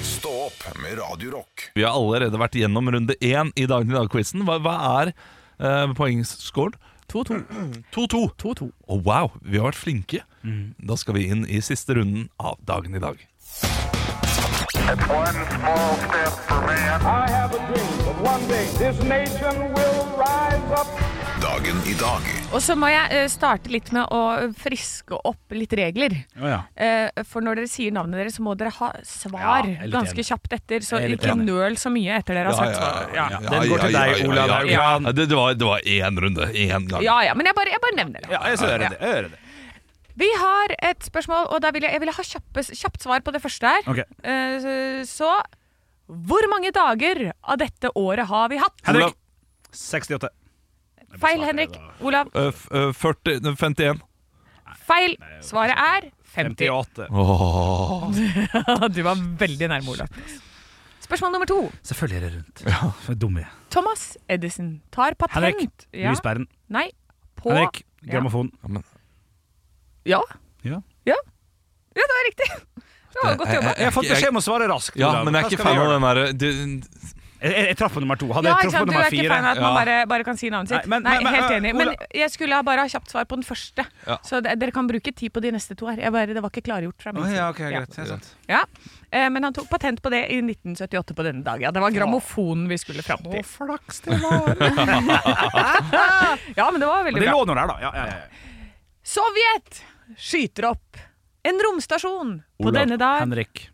Speaker 7: Stå opp med Radio Rock
Speaker 6: Vi har allerede vært gjennom runde én i Dagen i dag-quizen. Hva, hva er eh, poengscoren? 2-2. 2-2. Og wow, vi har vært flinke.
Speaker 5: Mm.
Speaker 6: Da skal vi inn i siste runden av Dagen i dag.
Speaker 8: One small step for man. I have a dream that one day this nation will rise up.
Speaker 7: Dagen i dag
Speaker 4: Og så må jeg eh, starte litt med å friske opp litt regler.
Speaker 5: Å ja.
Speaker 4: Eh, For når dere sier navnet deres, så må dere ha svar
Speaker 5: Ja, jeg er litt
Speaker 4: ganske
Speaker 5: enig.
Speaker 4: kjapt etter. Så
Speaker 5: Jeg er litt
Speaker 4: ikke
Speaker 5: enig.
Speaker 4: nøl så mye etter dere har sagt svaret. Ja.
Speaker 6: ja,
Speaker 5: Den går til
Speaker 6: ja,
Speaker 5: deg,
Speaker 6: ja, ja,
Speaker 5: Olav
Speaker 6: ja, ja.
Speaker 5: Haugland.
Speaker 6: Ja, Det, det, var, det var én runde. Én gang.
Speaker 4: Ja, ja, men jeg bare, jeg bare nevner det.
Speaker 5: ja, jeg hører det. Jeg hører det.
Speaker 4: Vi har et spørsmål, og da vil jeg, jeg vil ha kjappe, kjapt svar på det første her.
Speaker 5: Ok.
Speaker 4: Eh, så hvor mange dager av dette året har vi hatt?
Speaker 5: Henrik.
Speaker 6: Olav.
Speaker 5: 68.
Speaker 4: Feil, Henrik. Olav.
Speaker 6: Eh, f- eh, 40, nei, 51.
Speaker 4: Feil. Svaret er 50.
Speaker 5: 58.
Speaker 6: Åh,
Speaker 4: Du var veldig nærme, Olav. Spørsmål nummer to.
Speaker 5: Selvfølgelig er det rundt. Ja, for dum jeg.
Speaker 4: Thomas Edison tar patent
Speaker 5: Henrik,
Speaker 4: Ja.
Speaker 5: Lysbæren.
Speaker 4: Nei. På
Speaker 5: Henrik,
Speaker 4: Ja.
Speaker 5: grammofon.
Speaker 6: Ja, men,
Speaker 4: Ja.
Speaker 5: Ja.
Speaker 4: Ja, ja det var riktig. Det var godt jobba.
Speaker 5: Jeg har fått beskjed om å svare raskt.
Speaker 6: ja,
Speaker 5: Olav.
Speaker 6: men jeg
Speaker 5: Hva
Speaker 6: er ikke
Speaker 5: skal vi
Speaker 6: fan av den
Speaker 5: gjøre?
Speaker 6: eh, derre du-
Speaker 5: Jeg, jeg, jeg traff på nummer to. Hadde
Speaker 4: Ja,
Speaker 5: jeg
Speaker 4: ikke sant,
Speaker 5: traff på
Speaker 4: Du er
Speaker 5: nummer
Speaker 4: ikke
Speaker 5: fire
Speaker 4: fan av at man
Speaker 6: Ja.
Speaker 4: bare, bare kan si navnet sitt.
Speaker 5: Nei, men- men- men-
Speaker 4: helt enig. Men
Speaker 5: Ola-
Speaker 4: jeg skulle ha bare ha kjapt svar på den første.
Speaker 6: Ja.
Speaker 4: Så de- dere kan bruke tid på de neste to her. Jeg bare, det var ikke klargjort fra min
Speaker 5: Å,
Speaker 4: side.
Speaker 5: ja, ok,
Speaker 4: Ja.
Speaker 5: greit. Det er sant.
Speaker 4: Ja. Eh, Men han tok patent på det i 1978 på denne dag. Ja, det var grammofonen vi skulle fram til.
Speaker 5: flaks det var.
Speaker 4: Ja, men det var veldig
Speaker 5: Det
Speaker 4: bra.
Speaker 5: lå noe der, da. Ja, ja, ja.
Speaker 4: Sovjet skyter opp en romstasjon på
Speaker 6: Olav.
Speaker 4: denne dag.
Speaker 5: Henrik.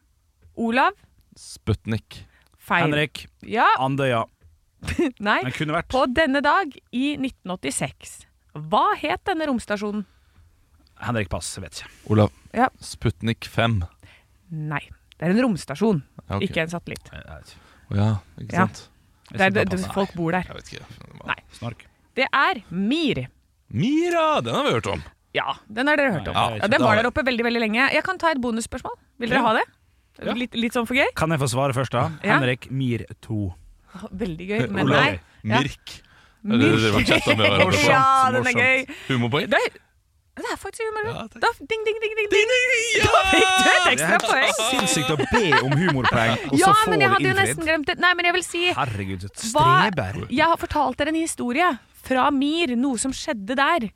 Speaker 4: Olav.
Speaker 6: Sputnik.
Speaker 4: Feil.
Speaker 5: Henrik.
Speaker 4: Ja,
Speaker 5: Andøya.
Speaker 4: nei.
Speaker 5: Den kunne vært
Speaker 4: På denne dag i 1986. Hva het denne romstasjonen?
Speaker 5: Henrik Pass, jeg vet ikke.
Speaker 6: Olav.
Speaker 4: Ja.
Speaker 6: Sputnik 5.
Speaker 4: Nei, det er en romstasjon,
Speaker 6: Ja, ok.
Speaker 4: ikke en satellitt.
Speaker 5: Jeg vet ikke.
Speaker 6: Å Ja, ikke
Speaker 4: Ja.
Speaker 6: sant?
Speaker 4: Det er,
Speaker 5: Jeg sier
Speaker 4: det,
Speaker 5: bare pass.
Speaker 4: folk bor der.
Speaker 6: Jeg vet ikke.
Speaker 4: Nei.
Speaker 5: Snark.
Speaker 4: Det er Mir.
Speaker 6: Mira! Den har vi hørt om.
Speaker 4: Ja, den har dere hørt om.
Speaker 5: Nei,
Speaker 4: Ja,
Speaker 5: jeg vet
Speaker 4: den
Speaker 5: ikke.
Speaker 4: var der oppe veldig veldig lenge. Jeg kan ta et bonusspørsmål. Vil dere ha det?
Speaker 5: Ja.
Speaker 4: Litt, litt sånn for gøy?
Speaker 5: Kan jeg få svare først, da?
Speaker 4: Ja.
Speaker 5: Henrik Mir 2.
Speaker 4: Veldig gøy, men
Speaker 6: Olav.
Speaker 4: nei. Ja.
Speaker 6: Mirk. Eller det var chatta med hverandre.
Speaker 5: Morsomt,
Speaker 4: Ja, den er
Speaker 5: morsomt.
Speaker 4: gøy.
Speaker 6: Humorpoeng.
Speaker 4: Det er, det er faktisk humor.
Speaker 6: Ja, takk.
Speaker 4: da, ding, ding, ding, ding, ding.
Speaker 6: Ja! altså
Speaker 4: Fikk du et ekstra poeng?
Speaker 5: Sinnssykt å be om humorpoeng, og
Speaker 4: Ja,
Speaker 5: så få
Speaker 4: men jeg
Speaker 5: det
Speaker 4: hadde jo nesten
Speaker 5: innfridd.
Speaker 4: glemt det. Nei, men jeg vil si
Speaker 5: Herregud, et
Speaker 4: hva,
Speaker 5: streber.
Speaker 4: Jeg har fortalt dere en historie fra Mir, noe som skjedde der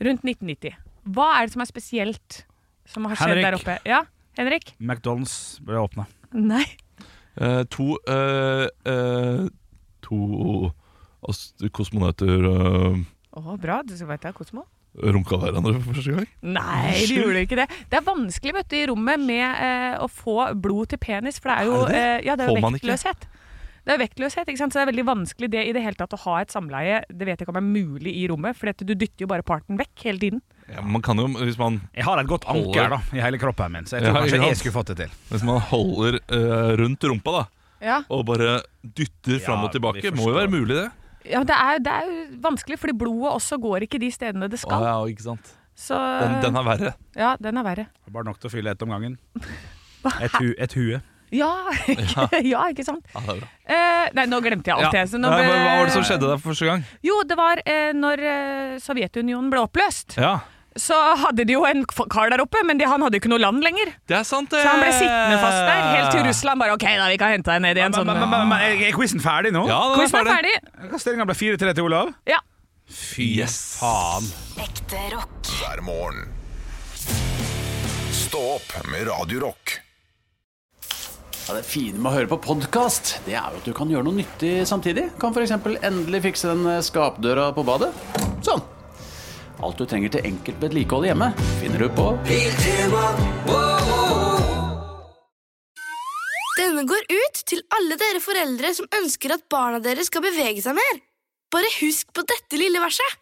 Speaker 4: rundt 1990. Hva er det som er spesielt som har skjedd
Speaker 5: Henrik.
Speaker 4: der oppe? Ja, Henrik?
Speaker 5: McDonald's ble åpna.
Speaker 4: Nei.
Speaker 6: Eh, to eh, eh, To ast- kosmonauter uh,
Speaker 4: Å, bra. Du vet det er Kosmo.
Speaker 6: runka hverandre for første gang.
Speaker 4: Nei, de gjorde ikke det. Det er vanskelig vet du, i rommet med eh, å få blod til penis, for det er jo,
Speaker 6: Er det det?
Speaker 4: eh, ja, det er jo
Speaker 6: Får man ikke?
Speaker 4: vektløshet. Det er vektløshet, ikke sant? så det er veldig vanskelig det i det hele tatt å ha et samleie. Det vet jeg ikke om er mulig i rommet, for dette, du dytter jo bare parten vekk hele tiden.
Speaker 6: Ja, man kan jo, hvis man,
Speaker 5: Jeg har et godt anker da, i hele kroppen min, så jeg
Speaker 6: Ja, ikke
Speaker 5: tror kanskje jeg
Speaker 6: sant?
Speaker 5: skulle fått det til.
Speaker 6: hvis man holder eh, rundt rumpa da
Speaker 4: Ja,
Speaker 6: og bare dytter fram og
Speaker 5: Ja, vi
Speaker 6: tilbake, må jo
Speaker 5: forstår.
Speaker 6: være mulig, det.
Speaker 4: ja det, er, det er jo vanskelig, fordi blodet også går ikke de stedene det
Speaker 6: Å,
Speaker 4: skal.
Speaker 6: ja, ikke sant
Speaker 4: Så
Speaker 6: Den, den er verre.
Speaker 4: ja, den er verre.
Speaker 5: Bare nok til å fylle ett om gangen. Et, hu, et hue.
Speaker 4: Ja, ikke, ja, ikke sant?
Speaker 6: Ja, det er bra.
Speaker 4: Eh, nei, nå glemte jeg alt.
Speaker 6: Ja.
Speaker 4: Jeg, så nå
Speaker 6: Nei, hva,
Speaker 4: ble-
Speaker 6: hva var det som skjedde der for første gang?
Speaker 4: Jo, det var eh, når eh, Sovjetunionen ble oppløst.
Speaker 6: Ja,
Speaker 4: så hadde de jo en f- kar der oppe, men de, han hadde jo ikke noe land lenger.
Speaker 6: Det er sant, eh, det!
Speaker 4: Så han ble sittende fast der, helt til Russland bare OK, da, vi kan hente deg ned igjen.
Speaker 5: Men,
Speaker 4: Sånn.
Speaker 5: men, men, men er- er quizen ferdig nå?
Speaker 6: Ja, det
Speaker 4: Quizen er ferdig.
Speaker 5: Stillinga ble 4-3 til Olav.
Speaker 4: Ja.
Speaker 5: Fy
Speaker 6: Yes.
Speaker 5: faen.
Speaker 1: Ekte rock.
Speaker 7: hver morgen. Stå opp med Radio Rock.
Speaker 9: Ja, det fine med å høre på podkast, det er jo at du kan gjøre noe nyttig samtidig. Kan f.eks. endelig fikse den eh, skapdøra på badet. Sånn. Alt du trenger til enkelt vedlikehold hjemme, finner du på
Speaker 10: Denne går ut til alle dere foreldre som ønsker at barna deres skal bevege seg mer. Bare husk på dette lille verset.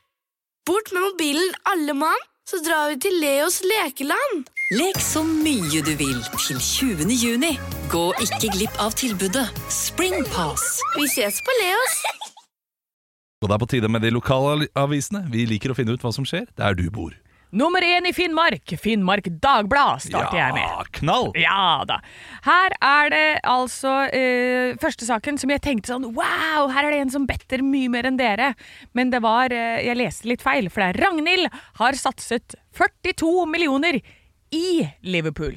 Speaker 10: Bort med mobilen alle mann, så drar vi til Leos lekeland.
Speaker 1: Lek så mye du vil til 20. juni. Gå ikke glipp av tilbudet Springpass.
Speaker 10: Vi ses på Leos.
Speaker 6: Og det er på tide med de lokale avisene. Vi liker å finne ut hva som skjer der du bor.
Speaker 4: Nummer én i Finnmark, Finnmark Dagblad, starter jeg med.
Speaker 6: Ja, knall!
Speaker 4: Ja da. Her er det altså eh, første saken som jeg tenkte sånn Wow, her er det en som better mye mer enn dere. Men det var eh, Jeg leste litt feil, for det er Ragnhild har satset 42 millioner i Liverpool.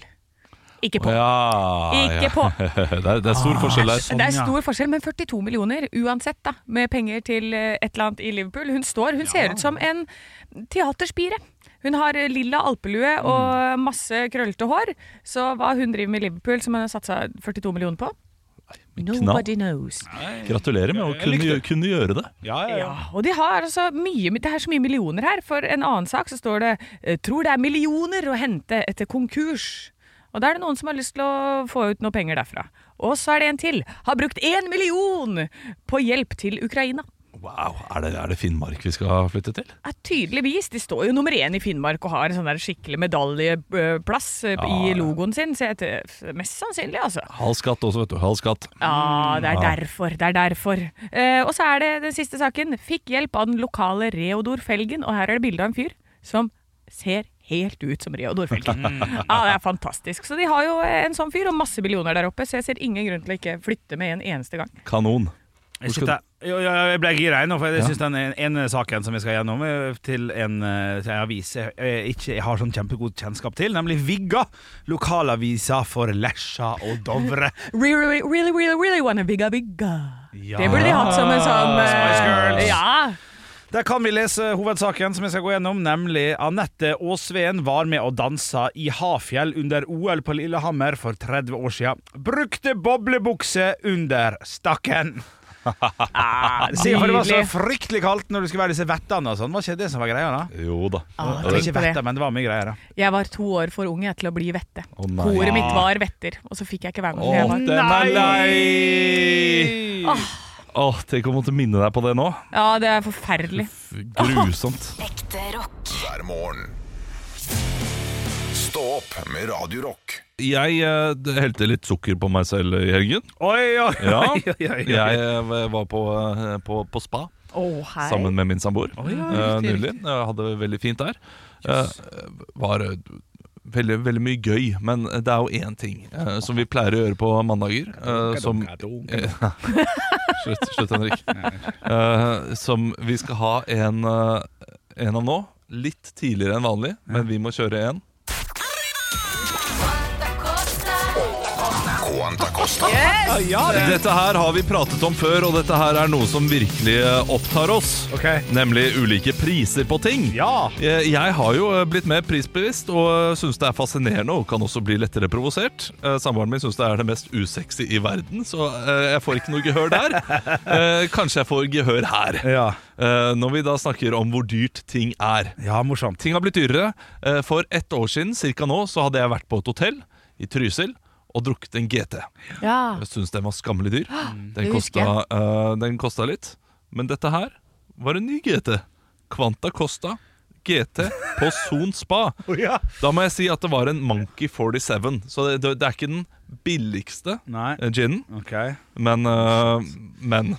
Speaker 4: Ikke på.
Speaker 6: Ja,
Speaker 4: Ikke på. Ah,
Speaker 6: det, er, det er stor forskjell der. Sånn,
Speaker 4: Det er stor forskjell, men 42 millioner uansett, da, med penger til eh, et eller annet i Liverpool. Hun står, hun ser ut som en teaterspire. Hun har eh, lilla alpelue og masse krøllete hår. Så hva hun driver med i Liverpool, som hun har satsa 42 millioner på Nobody knows.
Speaker 6: Gratulerer med å kunne, kunne gjøre det.
Speaker 5: Ja, ja, ja.
Speaker 4: Ja, og de har altså mye, det er så mye millioner her. For en annen sak så står det eh, 'tror det er millioner å hente etter konkurs'. Og da er det noen som har lyst til å få ut noe penger derfra. Og så er det en til. Har brukt én million på hjelp til Ukraina.
Speaker 6: Wow, Er det, er det Finnmark vi skal flytte til?
Speaker 4: Er tydeligvis, De står jo nummer én i Finnmark og har en sånn der skikkelig medaljeplass eh, i logoen sin. Så jeg t- mest sannsynlig, altså.
Speaker 6: Halv skatt også, vet du. Halv skatt.
Speaker 4: Ja, det er derfor. Det er derfor. Eh, og så er det den siste saken. Fikk hjelp av den lokale Reodor Felgen, og her er det bilde av en fyr som ser helt ut som Rio Dorfelgen. Ja, det er fantastisk. Så de har jo en sånn fyr og masse millioner der oppe, så jeg ser ingen grunn til å ikke flytte med en eneste gang.
Speaker 6: Kanon.
Speaker 5: Jeg,
Speaker 6: skal
Speaker 5: synes det- jo, jo, jeg ble gira jeg nå, for jeg synes den ene saken som vi skal gjennom, eh, til en, eh, til en avis jeg, jeg ikke jeg har sånn kjempegod kjennskap til, nemlig Vigga. Lokalavisa for Lesja og Dovre.
Speaker 4: Really, really, really, really wanna bigga bigga.
Speaker 5: Ja.
Speaker 4: Det burde de hatt som en sånn eh,
Speaker 5: Spice Girls.
Speaker 4: Ja.
Speaker 5: Der kan vi lese hovedsaken som jeg skal gå gjennom, nemlig Anette Aasveen var med og dansa i Hafjell under OL på Lillehammer for 30 år siden. Brukte boblebukse under stakken.
Speaker 4: Ah,
Speaker 5: Se, for det var så
Speaker 4: nydelig.
Speaker 5: fryktelig kaldt når du skulle være i disse vettene og sånn. Var ikke det som var greia, da?
Speaker 6: Jo da.
Speaker 4: Ah,
Speaker 5: Det var
Speaker 4: tenk på
Speaker 5: ikke
Speaker 4: det.
Speaker 5: vettet, men det var mye greier, da.
Speaker 4: Jeg var to år for ung jeg, til å bli vette.
Speaker 6: Å, nei.
Speaker 4: Håret mitt var vetter, og så fikk jeg ikke være med. for jeg
Speaker 6: Å,
Speaker 4: var-
Speaker 6: den er lei! Åh, Tenk å måtte minne deg på det nå.
Speaker 4: Ja, det er forferdelig.
Speaker 6: F- Grusomt.
Speaker 7: hver morgen. Stå opp med Radio Rock.
Speaker 6: Jeg eh, helte litt sukker på meg selv i helgen.
Speaker 5: Oi, oi, oi,
Speaker 6: Ja.
Speaker 5: oi, oi, oi.
Speaker 6: Jeg eh, var på, eh, på, på spa
Speaker 4: Å, hei.
Speaker 6: sammen med min samboer
Speaker 5: ja,
Speaker 6: eh,
Speaker 5: riktig,
Speaker 6: nylig. Jeg hadde det veldig fint der. Eh, var eh, veldig, veldig mye gøy, men det er jo én ting eh, som vi pleier å gjøre på mandager, eh, som Slutt, slutt Henrik. Eh, som vi skal ha en, eh, en av nå. Litt tidligere enn vanlig, men vi må kjøre en.
Speaker 7: Quanta Costa.
Speaker 6: Dette her har vi pratet om før, og dette her er noe som virkelig eh, opptar oss.
Speaker 5: Ok.
Speaker 6: Nemlig ulike priser på ting.
Speaker 5: Ja.
Speaker 6: Eh, Jeg har jo eh, blitt mer prisbevisst og syns det er fascinerende og kan også bli lettere provosert. Eh, Samboeren min syns det er det mest usexy i verden, så eh, jeg får ikke noe gehør der. Eh, Kanskje jeg får gehør her.
Speaker 5: Ja.
Speaker 6: Eh, Når vi da snakker om hvor dyrt ting er.
Speaker 5: ja, morsomt.
Speaker 6: Ting har blitt dyrere. Eh, For ett år siden cirka nå, så hadde jeg vært på et hotell i Trysil og drukket en GT.
Speaker 4: Ja.
Speaker 6: Jeg syns den var skammelig dyr.
Speaker 5: Ah,
Speaker 6: Den
Speaker 4: det husker
Speaker 6: kosta, eh, den kosta litt. Men dette her var en ny GT. Quanta Costa GT på Son Spa.
Speaker 5: Oh, ja.
Speaker 6: Da må jeg si at det var en Monkey 47. Så det, det, det er ikke den billigste
Speaker 5: Nei.
Speaker 6: eh, ginen,
Speaker 5: Ok.
Speaker 6: men, eh, men.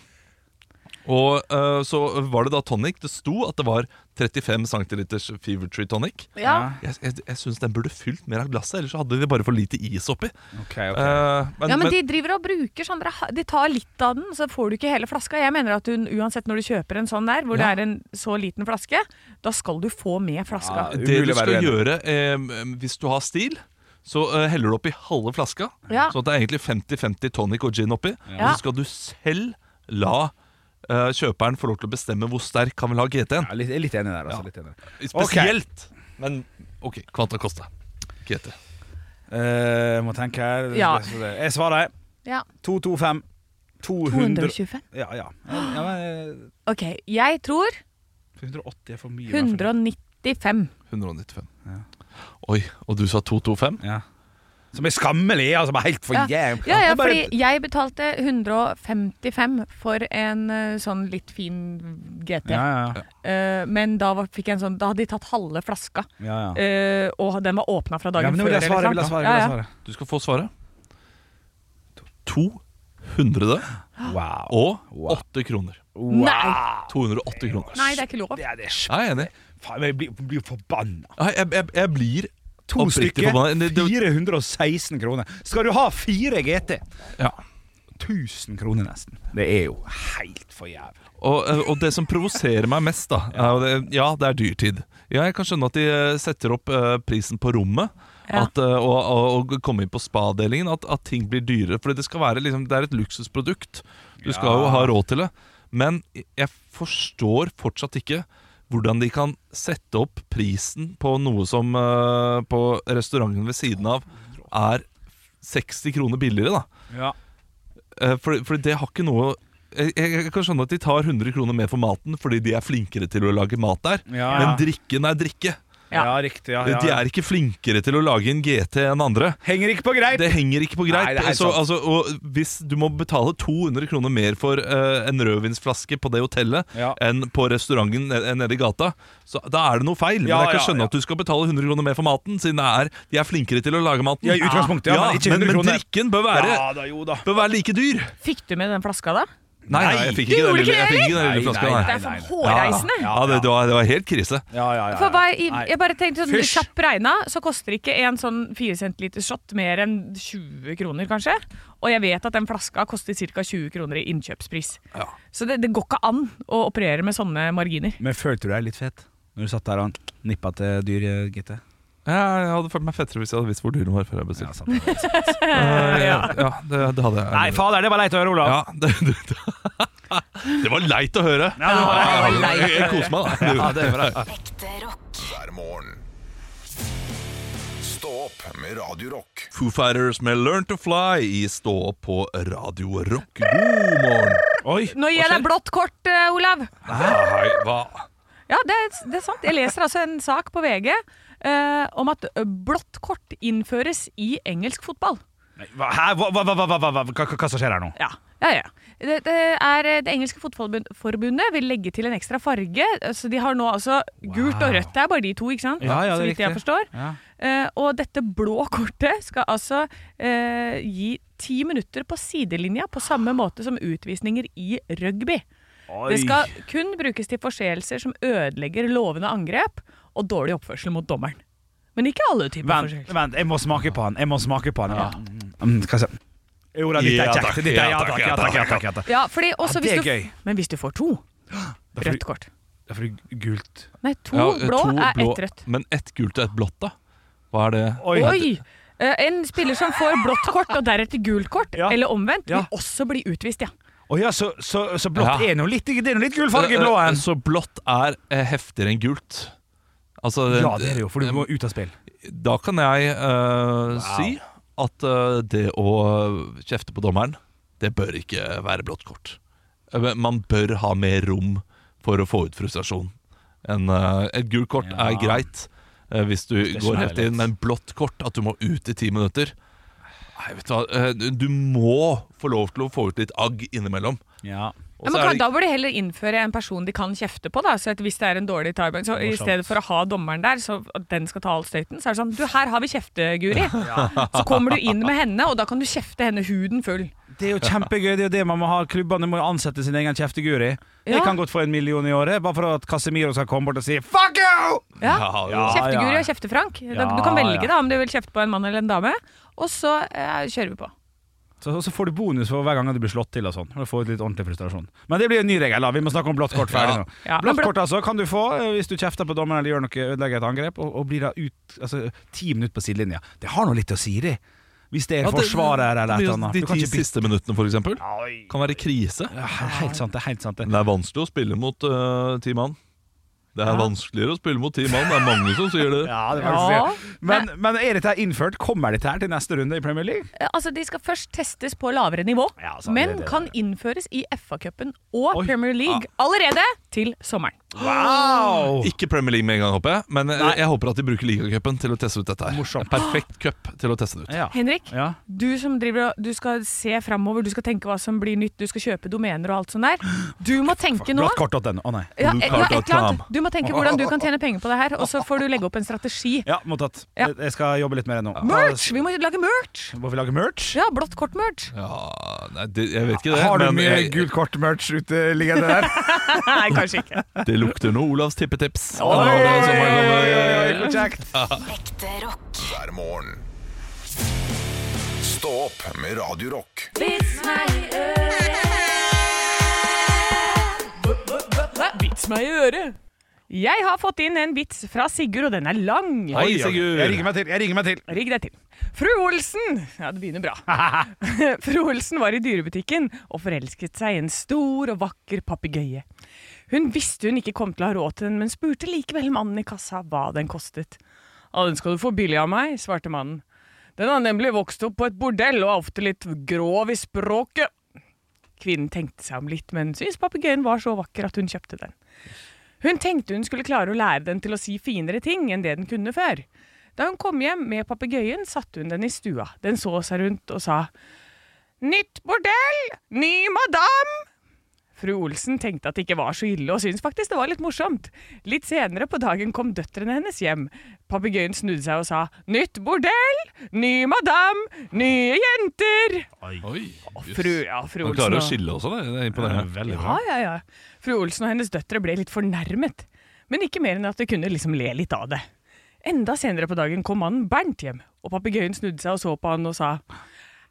Speaker 6: Og eh, så var det da tonic. Det sto at det var 35 cm Fever Tree tonic.
Speaker 4: Ja.
Speaker 6: Jeg, jeg, jeg syns den burde fylt mer av glasset, ellers så hadde de bare for lite is oppi.
Speaker 5: ok,
Speaker 6: Eh,
Speaker 5: ok.
Speaker 6: men-
Speaker 4: ja, men
Speaker 6: men-
Speaker 4: de driver og bruker sånn dere ha- De tar litt av den, så får du ikke hele flaska. Jeg mener at du, uansett når du kjøper en sånn der, hvor
Speaker 6: Ja.
Speaker 4: det er en så liten flaske, da skal du få med flaska.
Speaker 5: Ja,
Speaker 6: Det du
Speaker 5: Umulig å være
Speaker 6: skal
Speaker 5: uenig.
Speaker 6: gjøre eh, hvis du har stil så eh, heller du oppi halve flaska,
Speaker 4: Ja.
Speaker 6: sånn at det er egentlig 50-50 tonic og gin oppi. Og så skal du selv la eh, kjøperen få lov til å bestemme hvor sterk han vil ha GT-en.
Speaker 5: Ja, litt, jeg er litt enig der, altså.
Speaker 6: Ja.
Speaker 5: Litt enig. der.
Speaker 6: Spesielt. Men OK, Quanta Costa. GT.
Speaker 5: Eh, må tenke her.
Speaker 4: Ja.
Speaker 5: Jeg svarer
Speaker 4: Ja.
Speaker 5: 225. 200
Speaker 4: 225.
Speaker 5: Ja, ja. ja men,
Speaker 4: Ok, jeg tror
Speaker 5: eh, 180 er for mye. i hvert fall.
Speaker 4: 195.
Speaker 6: 195. Oi, og du sa 225?
Speaker 5: Ja. Som er skammelig, altså. Bare helt for
Speaker 4: Ja.
Speaker 5: jævlig.
Speaker 4: Ja, ja,
Speaker 5: Det er bare-
Speaker 4: fordi jeg betalte 155 for en eh, sånn litt fin GT.
Speaker 5: ja, ja, ja.
Speaker 4: Eh, men da, var, fikk jeg en sånn, da hadde de tatt halve flaska,
Speaker 5: ja, ja.
Speaker 4: eh, og den var åpna fra
Speaker 5: ja
Speaker 4: dagen
Speaker 5: men nå
Speaker 4: før.
Speaker 5: vil jeg
Speaker 4: eller
Speaker 5: svare.
Speaker 4: sant?
Speaker 5: Vil jeg svare,
Speaker 4: Ja,
Speaker 5: vil jeg
Speaker 4: ja.
Speaker 5: svare.
Speaker 6: Du skal få svaret. 200
Speaker 5: Wow.
Speaker 6: og 8 kroner.
Speaker 4: Nei,
Speaker 6: 208 kroner.
Speaker 4: nei, det er ikke lov.
Speaker 5: Det er det sj-
Speaker 6: Jeg er enig.
Speaker 5: Faen, jeg blir, blir forbanna.
Speaker 6: Jeg, jeg, jeg, jeg blir
Speaker 5: To
Speaker 6: oppriktig
Speaker 5: stykker,
Speaker 6: forbanna. Det- det-
Speaker 5: 416 kroner. Skal du ha fire GT?
Speaker 6: Ja.
Speaker 5: 1000 kroner nesten. Det er jo helt for jævlig.
Speaker 6: Og, eh, og det som provoserer meg mest, da er jo det, Ja, det er dyrtid. Ja, jeg kan skjønne at de eh, setter opp eh, prisen på rommet.
Speaker 4: Ja.
Speaker 6: At, eh, og, og, og komme inn på spa-delingen. At, at ting blir dyrere. For det, skal være, liksom, det er et luksusprodukt. Du skal jo ha råd til det. Men jeg forstår fortsatt ikke hvordan de kan sette opp prisen på noe som eh, på restauranten ved siden av er 60 kroner billigere, da.
Speaker 5: Ja.
Speaker 6: Eh, Fordi, fordi det har ikke noe jeg, jeg jeg kan skjønne at de tar 100 kroner mer for maten fordi de er flinkere til å lage mat der.
Speaker 5: Ja.
Speaker 6: Men drikken er drikke.
Speaker 5: Ja, riktig. Ja, ja.
Speaker 6: De er ikke flinkere til å lage en GT enn andre.
Speaker 5: Henger ikke på greip!
Speaker 6: Det henger ikke på greit.
Speaker 5: Nei, det er helt
Speaker 6: så,
Speaker 5: sant.
Speaker 6: altså, og hvis du må betale 200 kroner mer for eh, en rødvinsflaske på det hotellet
Speaker 5: Ja.
Speaker 6: enn på restauranten nede, nede i gata, så da er det noe feil.
Speaker 5: Ja,
Speaker 6: men jeg kan
Speaker 5: ja,
Speaker 6: skjønne
Speaker 5: ja.
Speaker 6: at du skal betale 100 kroner mer for maten, siden det er, de er flinkere til å lage maten.
Speaker 5: Ja, i utgangspunktet, ja, men ikke 100
Speaker 6: men,
Speaker 5: kroner.
Speaker 6: drikken bør være,
Speaker 5: Ja da, jo da.
Speaker 6: bør være like dyr.
Speaker 4: Fikk du med den flaska, da?
Speaker 6: Nei, nei, jeg fikk ikke den
Speaker 4: gjorde
Speaker 6: lille,
Speaker 4: ikke
Speaker 6: jeg
Speaker 4: det
Speaker 6: fikk ikke den
Speaker 5: heller?
Speaker 6: lille flaska.
Speaker 5: Nei,
Speaker 6: Nei,
Speaker 4: Det
Speaker 5: nei,
Speaker 4: er
Speaker 5: nei, nei.
Speaker 4: for hårreisende.
Speaker 6: Ja, det, det, var, det var helt krise.
Speaker 5: Ja, ja, ja,
Speaker 4: For hva, i-
Speaker 5: Nei.
Speaker 4: jeg bare tenkte sånn,
Speaker 5: Fysj.
Speaker 4: Kjapp regna, så koster ikke en sånn 4 cm shot mer enn 20 kroner, kanskje. Og jeg vet at den flaska koster ca. 20 kroner i innkjøpspris. Så det, det går ikke an å operere med sånne marginer.
Speaker 5: Men følte du deg litt fet når du satt der og nippa til dyr, eh, Gitte?
Speaker 6: Jeg, jeg hadde følt meg fettere hvis jeg hadde visst hvor dyren var før jeg bestilte.
Speaker 5: sant. Nei,
Speaker 6: Eh, ja, ja, det, det hadde jeg.
Speaker 5: fader, det var leit å høre, Olav.
Speaker 6: Ja, det, det, det var leit å høre.
Speaker 5: Ja, det var
Speaker 6: Jeg, jeg, koser meg, da.
Speaker 5: Ja, det var det.
Speaker 7: hver morgen. Stå opp med Radio Rock.
Speaker 6: Foo Fighters med Learn to Fly i Stå opp på Radio Rock. God morgen.
Speaker 5: Oi.
Speaker 4: Nå gir jeg deg blått kort, eh, Olav.
Speaker 6: Hei, hva?
Speaker 4: Ja, det, er- det er sant. Jeg leser altså en sak på VG eh, om at blått kort innføres i engelsk fotball.
Speaker 5: Hva, hæ? hva, hva, hva, hva, hva, hva, hva, hva som skjer her nå?
Speaker 4: Ja, ja, ja. Det, det, er, eh, det engelske fotballforbundet vil legge til en ekstra farge. Så de har nå altså Gult og rødt det er bare de to, ikke sant?
Speaker 5: Ja, ja,
Speaker 4: så
Speaker 5: det er
Speaker 4: vidt jeg
Speaker 5: riktig.
Speaker 4: forstår.
Speaker 5: Ja.
Speaker 4: Eh, og dette blå kortet skal altså eh, gi ti minutter på sidelinja på samme måte som utvisninger i rugby. Det skal kun brukes til forseelser som ødelegger lovende angrep og dårlig oppførsel mot dommeren. Men ikke alle typer
Speaker 5: Vent,
Speaker 4: forseelser.
Speaker 5: vent, jeg må smake på han. Jeg må smake på han. Ja. Mm, hva skal jeg si? Jo da, dette
Speaker 6: Ja,
Speaker 5: er
Speaker 6: takk.
Speaker 5: kjekt. Dette er-
Speaker 6: Ja,
Speaker 5: Ja
Speaker 6: takk,
Speaker 5: takk,
Speaker 6: ja,
Speaker 5: ja takk. ja takk, ja, takk.
Speaker 4: Ja, fordi også
Speaker 5: Ja, det er
Speaker 4: hvis du,
Speaker 5: gøy.
Speaker 4: Men hvis du får to,
Speaker 5: er fordi-
Speaker 4: rødt kort.
Speaker 5: Det er for gult.
Speaker 4: Nei, to
Speaker 6: Ja,
Speaker 4: blå er
Speaker 6: blå,
Speaker 4: ett rødt.
Speaker 6: Men ett gult og ett blått, da? Hva er det?
Speaker 5: Oi.
Speaker 4: Oi! Eh, En spiller som får blått kort og deretter gult kort,
Speaker 5: Ja.
Speaker 4: eller omvendt,
Speaker 5: Ja.
Speaker 4: vil også bli utvist, ja.
Speaker 5: Å ja, så, så, så blått
Speaker 6: Ja.
Speaker 5: er nå litt, det er noe litt gul farge i blå
Speaker 6: Eh, eh,
Speaker 5: en.
Speaker 6: Så blått er eh, heftigere enn gult. Altså,
Speaker 5: Ja, det er det jo, for du må ut av spill.
Speaker 6: Da kan jeg eh, si at eh, det å eh, kjefte på dommeren, det bør ikke være blått kort. Eh, men Man bør ha mer rom for å få ut frustrasjon. En, eh, et gult kort er greit eh, hvis du går
Speaker 5: smeller
Speaker 6: helt inn,
Speaker 5: litt.
Speaker 6: men blått kort, at du må ut i ti minutter Nei, vet du hva, eh, du- du må få lov til å få ut litt agg innimellom.
Speaker 5: Ja.
Speaker 6: Og
Speaker 4: ja
Speaker 6: så
Speaker 4: men
Speaker 6: er
Speaker 4: kan,
Speaker 6: det-
Speaker 4: da bør de heller innføre en person de kan kjefte på, da. Så at hvis det er en dårlig tiebreak, så i stedet for å ha dommeren der, så at den skal ta all støyten, så er det sånn Du, her har vi kjefteguri. Så kommer du inn med henne, og da kan du kjefte henne huden full.
Speaker 5: Det er jo kjempegøy, det er jo det man må ha. Klubbene må jo ansette sin egen kjefteguri. Jeg
Speaker 4: Ja.
Speaker 5: kan godt få en million i året, bare for at Casemiro skal komme bort og si fuck you!
Speaker 4: Ja.
Speaker 6: Ja, det-
Speaker 5: Ja,
Speaker 4: Kjefteguri
Speaker 5: ja.
Speaker 4: og kjeftefrank. Da,
Speaker 5: Ja,
Speaker 4: du kan
Speaker 5: ja.
Speaker 4: velge da om du vil kjefte på en mann eller en dame, og så eh, kjører vi på.
Speaker 5: Så, så får du bonus for hver gang du blir slått til og sånn. Og du får litt ordentlig frustrasjon. Men det blir en ny regel, da. Vi må snakke om blått kort ferdig nå.
Speaker 4: Ja, men
Speaker 5: Blått
Speaker 4: blå-
Speaker 5: kort altså, kan du få eh, hvis du kjefter på dommeren eller gjør noe, ødelegger et angrep, og, og blir da ut altså, ti minutter på sidelinja. Det har nå litt å si, det. Hvis det er
Speaker 6: Ja, det-
Speaker 5: forsvarer eller et
Speaker 6: det
Speaker 5: eller
Speaker 6: blir jo
Speaker 5: annet.
Speaker 6: De
Speaker 5: Du kan
Speaker 6: ti
Speaker 5: ikke bytte.
Speaker 6: siste minuttene, for eksempel, kan være krise.
Speaker 5: Ja, helt sant, det er helt sant.
Speaker 6: Men
Speaker 5: Det.
Speaker 6: det er vanskelig å spille mot eh, ti mann. Det er vanskeligere å spille mot ti mann. Det er mange som sier det.
Speaker 5: Ja, det var
Speaker 4: Ja.
Speaker 5: faktisk det. Men, men er dette her innført? Kommer dette her til neste runde i Premier League?
Speaker 4: Eh, Altså, De skal først testes på lavere nivå,
Speaker 5: Ja, sant,
Speaker 4: men
Speaker 5: det- det-
Speaker 4: kan innføres i FA-cupen og
Speaker 5: Oi.
Speaker 4: Premier League allerede til sommeren.
Speaker 5: Wow!
Speaker 6: Ikke Premier League med en gang, håper jeg, men eh, jeg, jeg håper at de bruker ligacupen til å teste ut dette her.
Speaker 5: Morsomt.
Speaker 6: En perfekt cup til å teste det ut.
Speaker 5: Ja.
Speaker 4: Henrik,
Speaker 5: Ja.
Speaker 4: du som driver og Du skal se framover, du skal tenke hva som blir nytt, du skal kjøpe domener og alt sånt der. Du må tenke nå.
Speaker 5: Blått kort.no. Å nei.
Speaker 4: Ja, ja, et eller annet.
Speaker 6: Bluecard.com.
Speaker 4: Du må tenke hvordan du kan tjene penger på det her, og så får du legge opp en strategi.
Speaker 5: Ja, mottatt.
Speaker 4: Ja.
Speaker 5: Jeg- Jeg skal jobbe litt med det nå.
Speaker 4: Merch! Vi må lage merch!
Speaker 5: Da Må vi lage merch?
Speaker 4: Ja, blått kort-merch.
Speaker 6: Ja, nei, det, jeg vet ikke det,
Speaker 5: Har du
Speaker 6: men eh,
Speaker 5: mye
Speaker 6: jeg,
Speaker 5: gult kort-merch ute liggende der?
Speaker 4: Nei, kanskje ikke.
Speaker 6: det lukter noe Olavs tippetips. Det
Speaker 5: Oi,
Speaker 6: var det som var-
Speaker 5: oi, kjekt.
Speaker 7: hver morgen. Stå opp med Radio Rock.
Speaker 4: Vits meg i øret. Jeg har fått inn en vits fra Sigurd, og den er lang.
Speaker 6: Hei,
Speaker 5: Jeg ringer
Speaker 6: Sigurd.
Speaker 5: meg til. jeg ringer meg til
Speaker 4: Rigg deg til. Fru Olsen Ja, det begynner bra. Fru Olsen var i dyrebutikken og forelsket seg i en stor og vakker papegøye. Hun visste hun ikke kom til å ha råd til den, men spurte likevel mannen i kassa hva den kostet. Ja, den skal du få billig av meg, svarte mannen. Den har nemlig vokst opp på et bordell og er ofte litt grov i språket. Kvinnen tenkte seg om litt, men syntes papegøyen var så vakker at hun kjøpte den. Hun tenkte hun skulle klare å lære den til å si finere ting enn det den kunne før. Da hun kom hjem med papegøyen, satte hun den i stua. Den så seg rundt og sa Nytt bordell! Ny madam! Fru Olsen tenkte at det ikke var så ille, og syntes faktisk det var litt morsomt. Litt senere på dagen kom døtrene hennes hjem. Papegøyen snudde seg og sa 'nytt bordell, ny madam, nye jenter'.
Speaker 6: Oi,
Speaker 4: Fru, ja, fru
Speaker 6: Han
Speaker 4: Olsen
Speaker 6: klarer å
Speaker 4: og-
Speaker 6: skille også, det. det er imponerende.
Speaker 3: Veldig
Speaker 4: ja, ja, ja. Fru Olsen og hennes døtre ble litt fornærmet, men ikke mer enn at de kunne liksom le litt av det. Enda senere på dagen kom mannen Bernt hjem, og papegøyen snudde seg og så på han og sa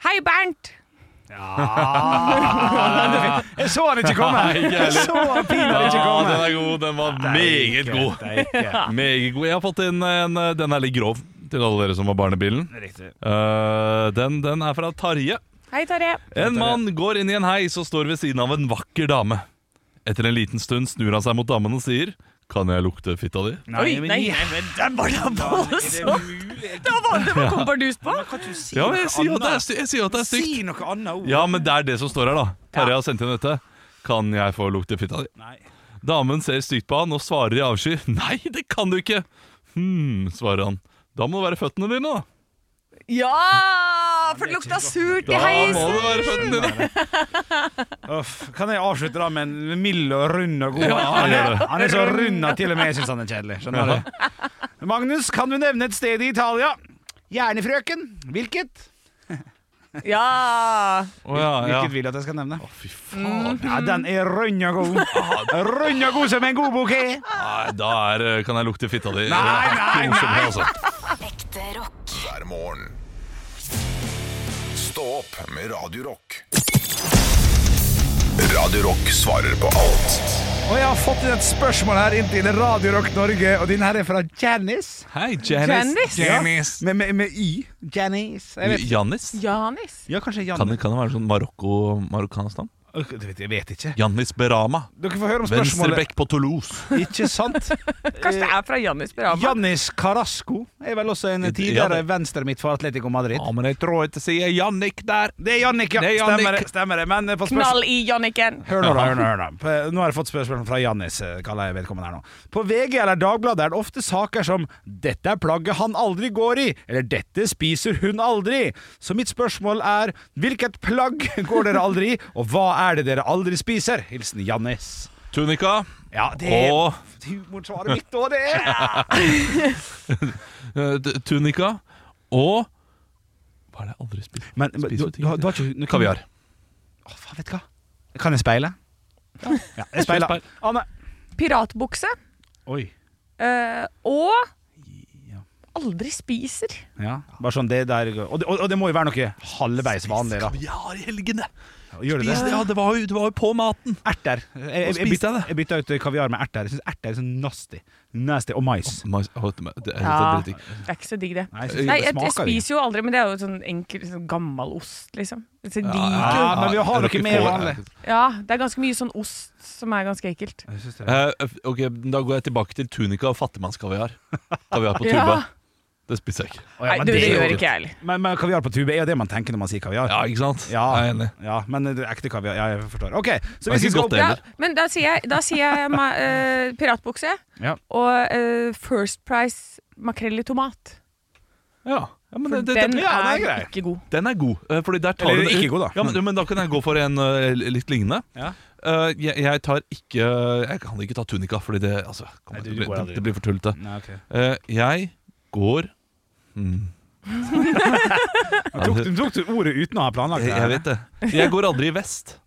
Speaker 4: Hei, Bernt!
Speaker 5: Jeg så han ikke komme! Jeg så han pinadø ikke
Speaker 6: Ja,
Speaker 5: komme!
Speaker 6: den er god. Den var meget god. Meget god. Jeg har fått inn en eh, Den er litt grov til alle dere som var barnebilen.
Speaker 3: Riktig.
Speaker 6: Eh, den, den er fra Tarje.
Speaker 4: Hei, Tarjei.
Speaker 6: En mann går inn i en heis og står ved siden av en vakker dame. Etter en liten stund snur han seg mot damen og sier Kan jeg lukte fitta di?
Speaker 4: Oi, nei, nei, men den var da voldsomt! Det var det var kompardus på!
Speaker 6: Ja, men jeg sier jo at det er, sty- jeg sier jo at det er stygt.
Speaker 5: Si noe annet ord.
Speaker 6: Ja, men det er det som står her, da. Tarjei har sendt inn dette. Kan jeg få lukte fitta di?
Speaker 5: Nei.
Speaker 6: Damen ser stygt på han og svarer i avsky. Nei, det kan du ikke! Hm, svarer han. Da må det være føttene dine, da.
Speaker 4: Ja! For det lukta surt i
Speaker 6: Da må
Speaker 4: heisen!
Speaker 6: det være føttene dine.
Speaker 5: Uff, kan jeg avslutte da med en mild og rund og god
Speaker 6: Ja,
Speaker 5: han,
Speaker 6: gjør
Speaker 5: er,
Speaker 6: det.
Speaker 5: han er så rund at til og med jeg syns han er kjedelig. Skjønner du? Magnus, kan du nevne et sted i Italia? Gjerne, frøken. Hvilket?
Speaker 4: Ja!
Speaker 6: Å Ah, ja, ja.
Speaker 5: Hvilket vil du at jeg skal nevne?
Speaker 6: Fy faen.
Speaker 5: Ja, den er rund og god. Rund og god som en god bukett.
Speaker 6: Nei, da er, eh, kan jeg lukte fitta di.
Speaker 5: Nei, nei, nei.
Speaker 6: Altså.
Speaker 7: Ekte rock. Hver morgen. Stå opp med Radio Rock. Radio Rock svarer på alt.
Speaker 5: Og jeg har fått inn et spørsmål her inn til Radio Rock Norge, og din her er fra Janice.
Speaker 6: Hei,
Speaker 4: Janice.
Speaker 6: Janice.
Speaker 5: Med, med, med Y. Janice. Jeg vet.
Speaker 6: Janis?
Speaker 4: Janis.
Speaker 5: Ja, kanskje
Speaker 6: Kan
Speaker 5: Jan...
Speaker 6: det, kan det være sånn Marokko, marokkansk navn?
Speaker 5: Ok, du vet, Jeg vet ikke.
Speaker 6: Janis Berama.
Speaker 5: Dere får høre om spørsmålet.
Speaker 6: Venstrebekk på Toulouse.
Speaker 5: Ikke sant?
Speaker 4: Kanskje det er fra Janis Brahma?
Speaker 5: Jannis Carasco er vel også en
Speaker 6: Ja, det-
Speaker 5: tidligere venstre midt for Atletico Madrid.
Speaker 6: men jeg tror ikke sier Jannik der.
Speaker 5: Det er Jannik, ja.
Speaker 6: Det er Jannik.
Speaker 5: Stemmer det. stemmer det. Men eh, på spørsmål
Speaker 4: Knall i Janniken!
Speaker 5: Hør nå, da, hør nå, hør nå. P- Nå har jeg fått spørsmål fra Jannis, eh, kaller jeg vedkommende her nå. På VG eller Dagbladet er det ofte saker som 'Dette er plagget han aldri går i', eller 'Dette spiser hun aldri'. Så mitt spørsmål er 'Hvilket plagg går dere aldri i', og hva er det dere aldri spiser? Hilsen Jannis.
Speaker 6: Tunika
Speaker 5: Ja, det er
Speaker 6: og
Speaker 5: humorsvaret mitt òg, det! er
Speaker 6: eh, t- Tunika og Hva er det jeg aldri spiser?
Speaker 5: Men, men du,
Speaker 6: Spiser
Speaker 5: du, har, du har ikke du kan-
Speaker 6: Kaviar.
Speaker 5: Å, faen, vet du hva? Kan jeg speile? Ja, jeg speiler.
Speaker 6: Speil.
Speaker 5: Anne.
Speaker 4: Piratbukse.
Speaker 5: Oi.
Speaker 4: eh, og Aldri spiser.
Speaker 5: Ja, bare sånn det der og det, og det må jo være noe halvveis vanlig, da.
Speaker 6: Kaviar i helgene!
Speaker 5: Gjør det
Speaker 6: Spis det,
Speaker 5: det?
Speaker 6: ja, det var, jo, det var jo på maten.
Speaker 5: Erter. Jeg, jeg,
Speaker 6: spiste
Speaker 5: jeg, byt-
Speaker 6: jeg det?
Speaker 5: jeg bytta ut kaviar med erter. Jeg syns erter er sånn nasty. Nasty. Og mais.
Speaker 6: Mais- å, Det er- det er
Speaker 4: Ja.
Speaker 6: dritdigg.
Speaker 4: Det er ikke så digg, det.
Speaker 5: Nei, jeg, synes
Speaker 4: Nei, jeg,
Speaker 5: det
Speaker 4: jeg
Speaker 5: smaker jo.
Speaker 4: spiser jo aldri, men det er jo sånn enkel sånn gammel ost, liksom. Så de,
Speaker 5: ja.
Speaker 4: ja,
Speaker 5: men vi har
Speaker 6: jeg
Speaker 5: noe
Speaker 6: ikke
Speaker 5: mer
Speaker 6: få-
Speaker 5: vanlig.
Speaker 4: det er ganske mye sånn ost som er ganske ekkelt.
Speaker 5: Jeg synes det er-
Speaker 6: Eh, ok, Da går jeg tilbake til tunika og fattigmannskaviar. Kaviar på tuba.
Speaker 4: Ja.
Speaker 6: Det spiser jeg ikke.
Speaker 5: Å, ja,
Speaker 4: Nei,
Speaker 5: men
Speaker 4: du, det
Speaker 5: er jo-
Speaker 4: gjør ikke jeg heller.
Speaker 5: Men, men kaviar på tube er jo det man tenker når man sier kaviar.
Speaker 6: Ja, ikke sant?
Speaker 5: Ja.
Speaker 6: Jeg er enig.
Speaker 5: Ja, men det er ekte kaviar Ja, jeg forstår. OK,
Speaker 6: Det
Speaker 5: så
Speaker 6: er
Speaker 5: hvis vi
Speaker 6: ikke
Speaker 5: skal
Speaker 6: godt,
Speaker 5: opp
Speaker 6: det
Speaker 4: Ja,
Speaker 6: heller.
Speaker 4: men da sier jeg, da sier jeg ma- eh, piratbukse
Speaker 5: Ja.
Speaker 4: og eh, First Price makrell i tomat.
Speaker 6: Ja. ja, men
Speaker 4: For
Speaker 6: det, det,
Speaker 4: den
Speaker 6: det,
Speaker 5: ja, den er
Speaker 4: er,
Speaker 5: grei.
Speaker 4: ikke god.
Speaker 6: Den er god. eh, Fordi der tar
Speaker 5: Eller
Speaker 6: du det-
Speaker 5: ikke god, da.
Speaker 6: Ja, men, men da kan jeg gå for en eh, litt lignende.
Speaker 5: Ja.
Speaker 6: Eh, jeg, jeg tar ikke Jeg kan ikke ta tunika, fordi det altså, kom,
Speaker 5: Nei, du-
Speaker 6: det,
Speaker 5: du
Speaker 6: blir,
Speaker 5: går aldri.
Speaker 6: det, det blir for tullete.
Speaker 5: Nei, ok.
Speaker 6: Eh, jeg går hmm,
Speaker 5: tok, du- tok du ordet uten å ha planlagt
Speaker 6: jeg,
Speaker 5: det?
Speaker 6: jeg vet det. Jeg går aldri i vest.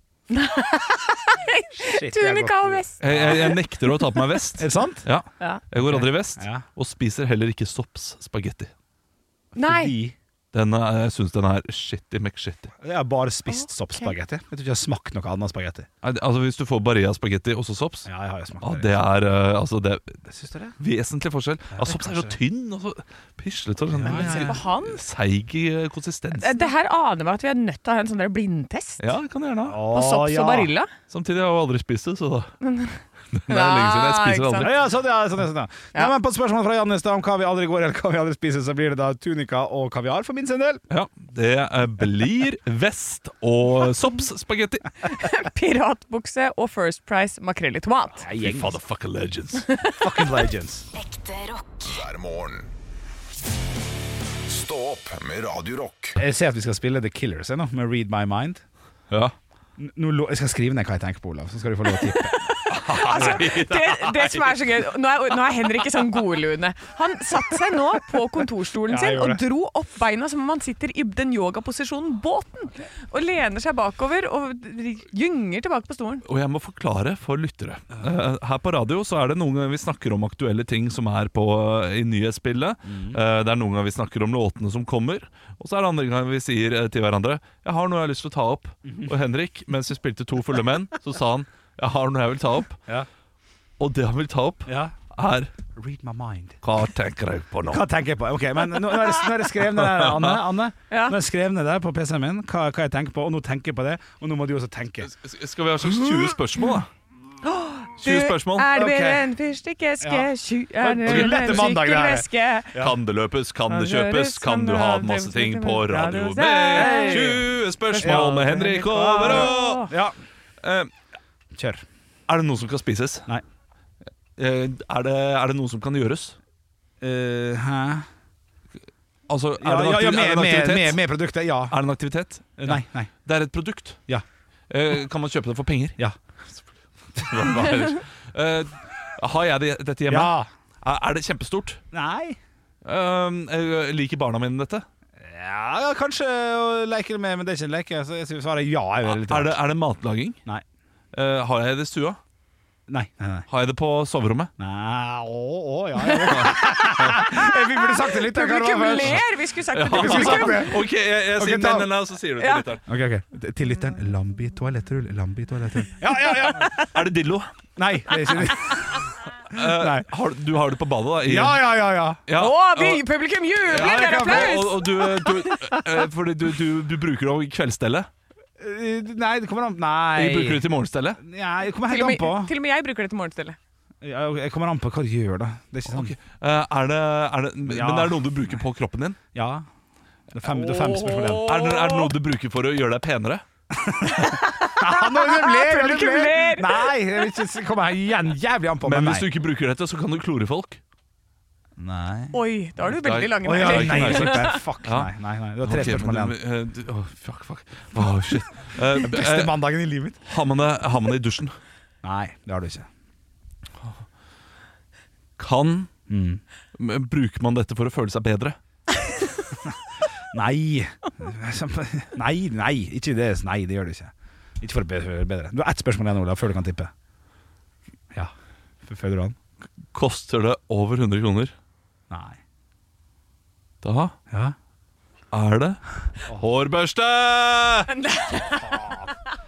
Speaker 5: Shit, jeg
Speaker 4: Tunika
Speaker 5: går-
Speaker 4: og vest.
Speaker 6: Jeg, jeg, jeg nekter å ta på meg
Speaker 5: Er
Speaker 6: vest.
Speaker 5: det sant?
Speaker 6: Ja,
Speaker 4: Ja.
Speaker 6: Jeg går aldri i vest,
Speaker 5: Ja.
Speaker 6: og spiser heller ikke Sopps spagetti.
Speaker 4: Nei.
Speaker 5: Fordi
Speaker 6: Den er- Jeg syns den er shitty McShitty.
Speaker 5: Jeg har bare spist soppspagetti. Jeg tror ikke jeg har smakt noe annet spagetti.
Speaker 6: Nei, det- Altså, hvis du får Barilla spagetti og så Sopps,
Speaker 5: Ja, jeg har jo smakt
Speaker 6: ja, det er eh, altså, det,
Speaker 5: Syns du det?
Speaker 6: vesentlig forskel. Ja, Sopps er jo
Speaker 5: kanskje
Speaker 6: tynn og så pislete og sånn.
Speaker 4: Men se på han.
Speaker 6: Seig i eh, konsistens.
Speaker 4: Det her aner meg at vi er nødt til å ha en sånn der blindtest.
Speaker 6: Ja, det kan du gjerne ha.
Speaker 4: På Sops og Barilla.
Speaker 6: Samtidig har jeg jo aldri spist det, så da Det er lenge siden jeg
Speaker 4: Ah,
Speaker 6: spiser
Speaker 4: ikke
Speaker 6: aldri.
Speaker 5: Ja, ja, sånn, ja, sånn, ja, sånn, ja. Nei, men på spørsmål fra Jannis da om hva vi aldri går eller hva vi aldri spiser, så blir det da tunika og kaviar for min sin del.
Speaker 6: Ja, det eh, blir vest og soppsspagetti.
Speaker 4: Piratbukse og First Price makrell i tomat.
Speaker 6: Fy fader, fucking legends.
Speaker 5: Fucking legends.
Speaker 7: Hver morgen. Stå opp med Radio Rock.
Speaker 5: Jeg ser at vi skal spille The Killers jeg, nå, med Read My Mind.
Speaker 6: Ja.
Speaker 5: N- Nå, lo- jeg skal skrive ned hva jeg tenker på, Olav. Så skal du få lov å tippe.
Speaker 4: Det, det som er så gøy Nå er, nå er Henrik i sånn godlune. Han satte seg nå på kontorstolen
Speaker 5: Ja, jeg
Speaker 4: sin og
Speaker 5: gjorde det.
Speaker 4: dro opp beina som om han sitter i den yogaposisjonen båten. Og lener seg bakover og gynger tilbake på stolen.
Speaker 6: Og jeg må forklare for lyttere. Eh, her på radio så er det noen ganger vi snakker om aktuelle ting som er på, eh, i nyhetsbildet. Eh, det er noen ganger vi snakker om låtene som kommer. Og så er det andre ganger vi sier eh, til hverandre 'Jeg har noe jeg har lyst til å ta opp'. Og Henrik, mens vi spilte To fulle menn, så sa han 'Jeg har noe jeg vil ta opp'.
Speaker 5: Ja.
Speaker 6: Og det han vil ta opp, er
Speaker 5: Read my mind.
Speaker 6: Hva tenker jeg på nå?
Speaker 5: Hva tenker jeg på? Ok, men Nå nå er det, nå er det skrevet ned der, Anne. Anne
Speaker 4: Ja.
Speaker 5: Nå er det skrevet ned der på PC-en min hva, hva jeg tenker på, og nå tenker jeg på det. Og nå må du også tenke.
Speaker 6: S- Skal vi ha slags 20 spørsmål, da? 20 spørsmål.
Speaker 4: Du er
Speaker 5: Ok.
Speaker 4: bedre enn fyrstikkeske,
Speaker 5: Ja.
Speaker 4: tju- er du
Speaker 5: Det blir lett en mandag, det her.
Speaker 4: sykkelveske.
Speaker 6: Kan det løpes, kan det kjøpes, kan du ha masse ting på radio med 20 spørsmål med Henrik Overå!
Speaker 5: Ja,
Speaker 6: Eh,
Speaker 5: kjør.
Speaker 6: Er det noe som kan spises?
Speaker 5: Nei.
Speaker 6: Eh, Er det, er det noe som kan gjøres?
Speaker 5: Eh, hæ?
Speaker 6: Altså, er,
Speaker 5: Ja,
Speaker 6: det en
Speaker 5: ja, ja,
Speaker 6: aktiv- er
Speaker 5: med,
Speaker 6: det en
Speaker 5: med,
Speaker 6: aktivitet?
Speaker 5: med, med produktet. Ja.
Speaker 6: Er det en aktivitet?
Speaker 5: Ah,
Speaker 6: Eh,
Speaker 5: Nei. nei
Speaker 6: Det er et produkt.
Speaker 5: Ja.
Speaker 6: Eh, Kan man kjøpe det for penger?
Speaker 5: Ja.
Speaker 6: Hva- hva ellers? Eh, Har jeg det, dette hjemme?
Speaker 5: Ja.
Speaker 6: Er er det kjempestort?
Speaker 5: Nei.
Speaker 6: Um, eh, liker barna mine dette?
Speaker 5: Ja, ja, kanskje å leke det med, men det er ikke en leke. Så jeg synes svaret ja. Ah, Er jo
Speaker 6: Er
Speaker 5: litt
Speaker 6: det,
Speaker 5: rart.
Speaker 6: er det matlaging?
Speaker 5: Nei.
Speaker 6: Eh, har jeg det i stua?
Speaker 5: Nei, nei, nei.
Speaker 6: Har jeg det på soverommet?
Speaker 5: Nei, å, å, ja, ja. Vi burde sagt det litt. da, hva det
Speaker 4: Publikum
Speaker 5: var først.
Speaker 4: ler! Vi skulle sagt det til
Speaker 5: vi skulle
Speaker 4: publikum.
Speaker 5: sagt det.
Speaker 6: Ok, jeg, jeg
Speaker 5: Ok,
Speaker 6: sier
Speaker 5: ta-
Speaker 6: nei, nei, nei, og så sier du det til
Speaker 4: Ja.
Speaker 6: lytteren.
Speaker 5: Ok, ok Til lytteren. Lambi toalettrull. Lambi toalettrull. Ja, ja, ja.
Speaker 6: Er det dillo?
Speaker 5: Nei, det er ikke det.
Speaker 6: Eh,
Speaker 5: Nei.
Speaker 6: Har, du har det på badet, da? i-
Speaker 5: Ja, ja, ja. ja.
Speaker 6: Ja,
Speaker 4: Å,
Speaker 6: og-
Speaker 4: vi, publikum jubler!
Speaker 5: Ja,
Speaker 4: det er
Speaker 5: det kan
Speaker 4: applaus!
Speaker 6: Og, og du, du, eh, fordi du, du, du bruker det om kveldsstellet.
Speaker 5: Eh, Nei, det kommer an
Speaker 6: Vi bruker
Speaker 5: Nei.
Speaker 6: det til morgenstellet.
Speaker 5: Nei, det kommer
Speaker 4: Til og,
Speaker 5: helt an
Speaker 4: med,
Speaker 5: på.
Speaker 4: til og med jeg bruker det til morgenstellet.
Speaker 5: Ja, ok, det kommer an på hva du gjør, da. Det er ikke sånn.
Speaker 6: Ok. Eh, er det, er det,
Speaker 5: Ja.
Speaker 6: Men er det noe du bruker på kroppen din?
Speaker 5: Ja. Det er fem, det er fem spørsmål igjen.
Speaker 6: Er det, er det noe du bruker for å gjøre deg penere?
Speaker 5: Ja, nå det ler, det
Speaker 4: Publikum ler.
Speaker 5: Nei, jeg vil ikke det kommer igjen jævlig an på.
Speaker 6: Men hvis du ikke bruker dette, så kan du klore folk.
Speaker 5: Nei.
Speaker 4: Oi, da har du veldig lange
Speaker 5: Å ja,
Speaker 6: Nei,
Speaker 4: merker.
Speaker 5: nei,
Speaker 6: nei,
Speaker 5: shit, nei, fuck,
Speaker 6: Ja.
Speaker 5: nei, nei, nei. Du har tre
Speaker 6: Ok,
Speaker 5: spørsmål
Speaker 6: men
Speaker 5: igjen.
Speaker 6: du- eh, du- åh, fuck, fuck. Åh, shit. Eh,
Speaker 5: Beste
Speaker 6: eh,
Speaker 5: mandagen i livet mitt?
Speaker 6: har, man det, har man det i dusjen?
Speaker 5: Nei, det har du ikke.
Speaker 6: Kan men Bruker man dette for å føle seg bedre?
Speaker 5: Nei. Nei, nei, ikke det. Nei, det gjør du ikke. Ikke for å bedre. bedre. Du har ett spørsmål igjen, Olav, før du kan tippe. Ja. Følger du an?
Speaker 6: Koster det over 100 kroner?
Speaker 5: Nei.
Speaker 6: Da
Speaker 5: Ja.
Speaker 6: er det hårbørste!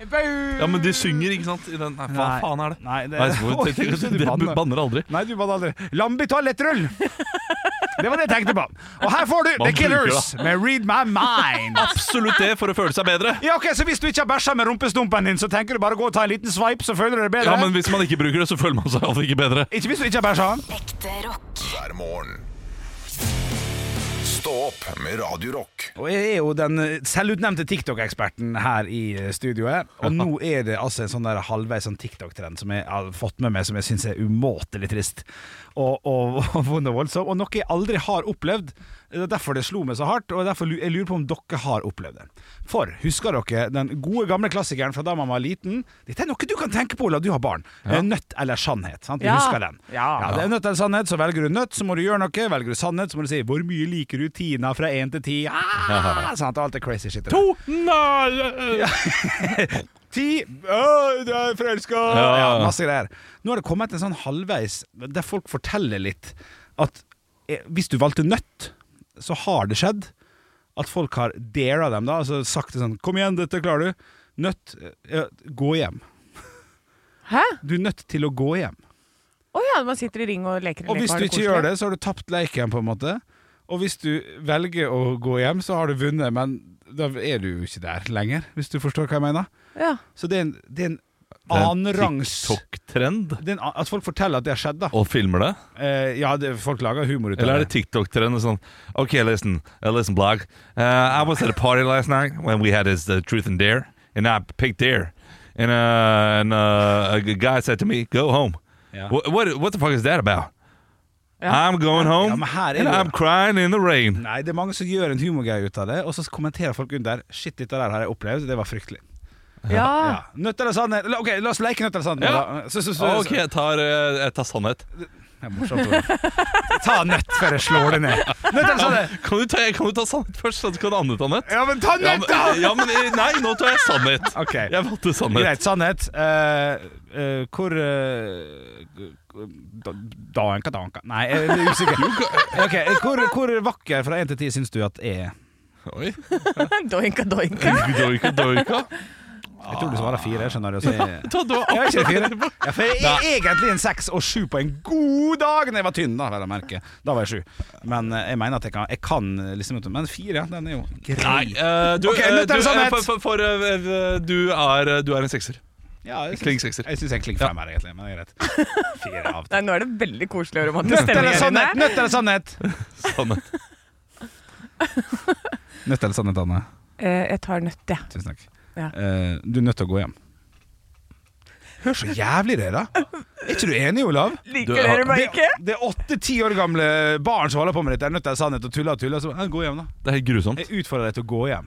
Speaker 6: Ja, men de synger, ikke sant? I den, nei, hva
Speaker 5: Nei.
Speaker 6: faen er det?
Speaker 5: Nei, det
Speaker 6: Nei, så,
Speaker 5: Oi,
Speaker 6: tenk- tenk-
Speaker 5: så
Speaker 6: tenk-
Speaker 5: du
Speaker 6: dere
Speaker 5: banner.
Speaker 6: banner aldri.
Speaker 5: Nei, du var det aldri. Lambi toalettrull! Det var det jeg tenkte på. Og her får du
Speaker 6: Man
Speaker 5: The Killers
Speaker 6: bruker
Speaker 5: med Read My Mind.
Speaker 6: Absolutt det for å føle seg bedre.
Speaker 5: Ja, ok, Så hvis du ikke har bæsja med rumpestumpen din, så tenker du bare å gå og ta en liten sveip, så føler du deg bedre?
Speaker 6: Ja, men Hvis man ikke bruker det, så føler man seg alltid ikke bedre.
Speaker 5: Ikke hvis du ikke har bæsja?
Speaker 7: hver morgen. Stå opp med Radio Rock.
Speaker 5: Og jeg er jo den eh, selvutnevnte TikTok-eksperten her i eh, studioet. Og nå er det altså en sånn der halvveis sånn TikTok-trend som jeg har fått med meg, som jeg syns er umåtelig trist og, og, og vond og voldsom. Og noe jeg aldri har opplevd. Det er derfor det slo meg så hardt, og derfor lu- jeg lurer på om dere har opplevd det. For husker dere den gode gamle klassikeren fra da man var liten? Dette er noe du kan tenke på, Olav, du har barn. Eh, Nøtt eller sannhet. sant? Vi
Speaker 4: Ja.
Speaker 5: husker den.
Speaker 4: Ja.
Speaker 5: det er nøtt eller sannhet, så velger du nøtt, så må du gjøre noe. Velger du sannhet, så må du si 'Hvor mye liker du Tina fra 1 til 10?' Ah, sant? Og alt det crazy shit. To! Ti! Å, du er forelska! Ja.
Speaker 6: Ja.
Speaker 5: masse greier. Nå har det kommet en sånn halvveis der folk forteller litt at eh, hvis du valgte nøtt, så har det skjedd at folk har dara dem, da. Altså sagt det sånn 'Kom igjen, dette klarer du'. Nødt eh, Gå hjem.
Speaker 4: Hæ?
Speaker 5: Du er nødt til å gå hjem.
Speaker 4: Å ja, man sitter i ring og leker
Speaker 5: Og hvis du ikke gjør det, så har du tapt leken, på en måte. Og hvis du velger å gå hjem, så har du vunnet, men da er du jo ikke der lenger, hvis du forstår hva jeg mener.
Speaker 4: Ja.
Speaker 5: Så det er en, det er en annenrangs
Speaker 6: Eh, TikTok-trend.
Speaker 5: det er en a- At folk forteller at det har skjedd, da.
Speaker 6: Og filmer det?
Speaker 5: Eh, ja, det, folk lager humor ut av
Speaker 6: Eller er det TikTok-trend og sånn OK, listen, uh, listen, blog. Uh, I was at a party last night when we had this uh, truth and dare, and I picked dare. And, uh, and uh, a g- guy said to me, go home.
Speaker 5: Ja.
Speaker 6: What, what, what the fuck is that about? I'm going
Speaker 5: Ja,
Speaker 6: home,
Speaker 5: men her er
Speaker 6: and
Speaker 5: det jo-
Speaker 6: I'm crying in the rain.
Speaker 5: Nei, det er mange som gjør en humorgreie ut av det, og så kommenterer folk under 'Shit, dette der har jeg opplevd, det var fryktelig'.
Speaker 4: Ja.
Speaker 5: Nødt eller sannhet? La- Ok, la oss leke nødt eller sannhet. nå,
Speaker 6: Ja.
Speaker 5: da. Så, så, så,
Speaker 6: Ah, Ok, jeg tar, eh, jeg tar sannhet.
Speaker 5: Det er morsomt, Olav. Ta nøtt før jeg slår det ned. Nødt eller sannhet?
Speaker 6: Kan du ta, kan du ta sannhet først, så kan du andre ta nett?
Speaker 5: Ja, men ta
Speaker 6: Ja,
Speaker 5: nøtt, da!
Speaker 6: men, ja, men eh, nei, nå tar jeg sannhet.
Speaker 5: Ok.
Speaker 6: Jeg valgte sannhet.
Speaker 5: Greit, sannhet. Eh, eh, hvor eh, da- Danka, danka Nei, jeg er usikker. Ok, hvor, hvor vakker fra 1 til 10 syns du at jeg er?
Speaker 6: Oi.
Speaker 4: doinka, doinka.
Speaker 6: Doika, doika.
Speaker 5: Jeg tror du svarer fire, skjønner du. Så jeg,
Speaker 6: Ta, du har
Speaker 5: jeg er ikke fire.
Speaker 6: akkurat-
Speaker 5: Ja, for jeg er egentlig en seks og sju på en god dag Når jeg var tynn, da, vel å merke. Da var jeg sju. Men eh, jeg mener at jeg kan, jeg kan liksom Men fire, ja, den er jo
Speaker 6: Nei, eh, du,
Speaker 5: Ok,
Speaker 6: eh,
Speaker 5: nødt eller
Speaker 6: du, eh,
Speaker 5: sannhet?
Speaker 6: for, for, for eh, du, er, eh, du er en sekser.
Speaker 5: Ja, jeg
Speaker 6: Kling
Speaker 5: syns
Speaker 6: sekser.
Speaker 5: jeg, syns jeg er kling fem her, egentlig. Men det er greit. Fire av
Speaker 4: Nei, nå er det veldig koselig og romantisk
Speaker 5: Nøtt
Speaker 4: stemning
Speaker 5: eller
Speaker 4: her
Speaker 5: sannhet?
Speaker 4: inne.
Speaker 5: Nøtt eller sannhet?
Speaker 6: Sannhet.
Speaker 5: Nøtt eller sannhet, Anne?
Speaker 4: Eh, jeg tar nøtt, jeg.
Speaker 5: Tusen takk.
Speaker 4: Ja.
Speaker 5: Eh, du er nødt til å gå hjem. Hør så jævlig det, er, da. Er ikke du enig, Olav?
Speaker 6: Du,
Speaker 4: Liker
Speaker 6: har-
Speaker 4: dere meg
Speaker 5: Det,
Speaker 4: ikke?
Speaker 5: det er åtte-ti år gamle barn som holder på med dette. Er nødt til sannhet og tuller og tuller. Så, ja, gå hjem, da.
Speaker 6: Det er helt grusomt.
Speaker 5: Jeg utfordrer deg til å gå hjem.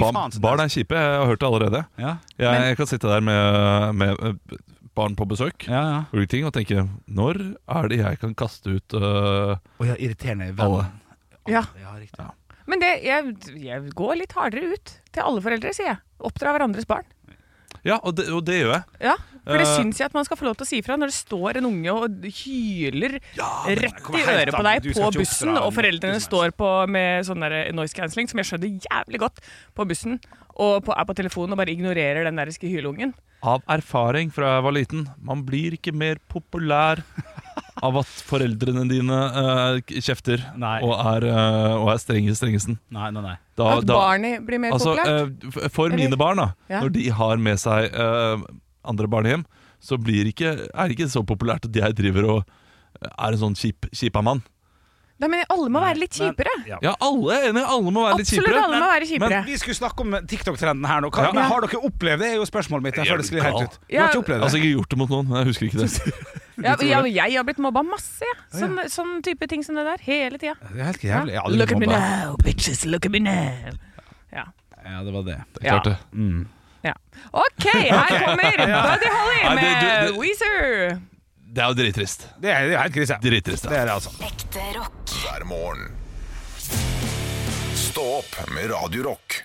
Speaker 6: Ba- Barn er kjipe, jeg har hørt det allerede.
Speaker 5: Ja,
Speaker 6: Jeg, jeg kan sitte der med, med eh, barn på besøk
Speaker 5: ja, ja.
Speaker 6: ulike ting, og tenke når er det jeg kan kaste ut eh,
Speaker 5: Å ja, irriterende
Speaker 6: alle?
Speaker 5: venn.
Speaker 4: Ja.
Speaker 5: Ja, riktig.
Speaker 4: Men det, jeg, jeg går litt hardere ut til alle foreldre, sier jeg. Oppdra hverandres barn.
Speaker 6: Ja, og det, og det gjør jeg.
Speaker 4: Ja, For det
Speaker 6: Eh.
Speaker 4: syns jeg at man skal få lov til å si ifra når det står en unge og hyler rett
Speaker 5: kommer
Speaker 4: i
Speaker 5: helt
Speaker 4: øret på
Speaker 5: an.
Speaker 4: deg
Speaker 5: Du
Speaker 4: på
Speaker 5: skal ikke
Speaker 4: bussen,
Speaker 5: oppdra
Speaker 4: og
Speaker 5: noe
Speaker 4: foreldrene
Speaker 5: som helst.
Speaker 4: står på med sånn der noise cancelling, som jeg skjønner jævlig godt, på bussen og på, er på telefonen og bare ignorerer den der hylungen.
Speaker 6: Av erfaring fra jeg var liten, man blir ikke mer populær av at foreldrene dine eh, k- kjefter
Speaker 5: Nei.
Speaker 6: og er, eh, og er strenge strengesten.
Speaker 5: Nei, nei, nei.
Speaker 6: Da-
Speaker 4: at
Speaker 6: da-
Speaker 4: barnet blir mer
Speaker 6: altså,
Speaker 4: populært.
Speaker 6: eh, f- For mine
Speaker 4: Eller-
Speaker 6: barn, da,
Speaker 4: Ja.
Speaker 6: når de har med seg eh, andre barn hjem, så blir ikke, er det ikke så populært at jeg driver og er en sånn kjip, kjipa mann.
Speaker 4: Da mener jeg alle må være litt kjipere.
Speaker 6: Ja, alle er enige, alle må være litt
Speaker 4: Absolutt
Speaker 6: kjipere.
Speaker 4: alle må være kjipere.
Speaker 5: Vi skulle snakke om TikTok-trenden her nå. Hva,
Speaker 6: Ja.
Speaker 5: men Har dere opplevd det? Det er jo spørsmålet mitt. Jeg
Speaker 6: Jeg
Speaker 5: før det sklir
Speaker 6: blir
Speaker 5: helt
Speaker 6: gal.
Speaker 5: ut. Du har
Speaker 4: Ja,
Speaker 5: ikke opplevd det?
Speaker 6: Altså, jeg har ikke gjort det mot noen, men jeg husker ikke det.
Speaker 4: Ja, ja, men jeg har blitt mobba masse, jeg. Sånn, sånn type ting som det der. Hele tida.
Speaker 5: Det er helt jævlig. Jeg har aldri
Speaker 4: Look at me
Speaker 5: mobba.
Speaker 4: now, bitches. Look at me now. Ja.
Speaker 5: Ja, det var det. Mm.
Speaker 6: Klart det.
Speaker 4: ja. OK, her kommer Buddy Holly
Speaker 6: Nei, det-
Speaker 4: med
Speaker 6: du- det-
Speaker 4: Weezer.
Speaker 6: Det er jo drittrist.
Speaker 5: Det er, det er helt krise.
Speaker 6: Drittrist, ja.
Speaker 5: Det er det, altså.
Speaker 7: hver morgen. Stå opp med Radio Rock.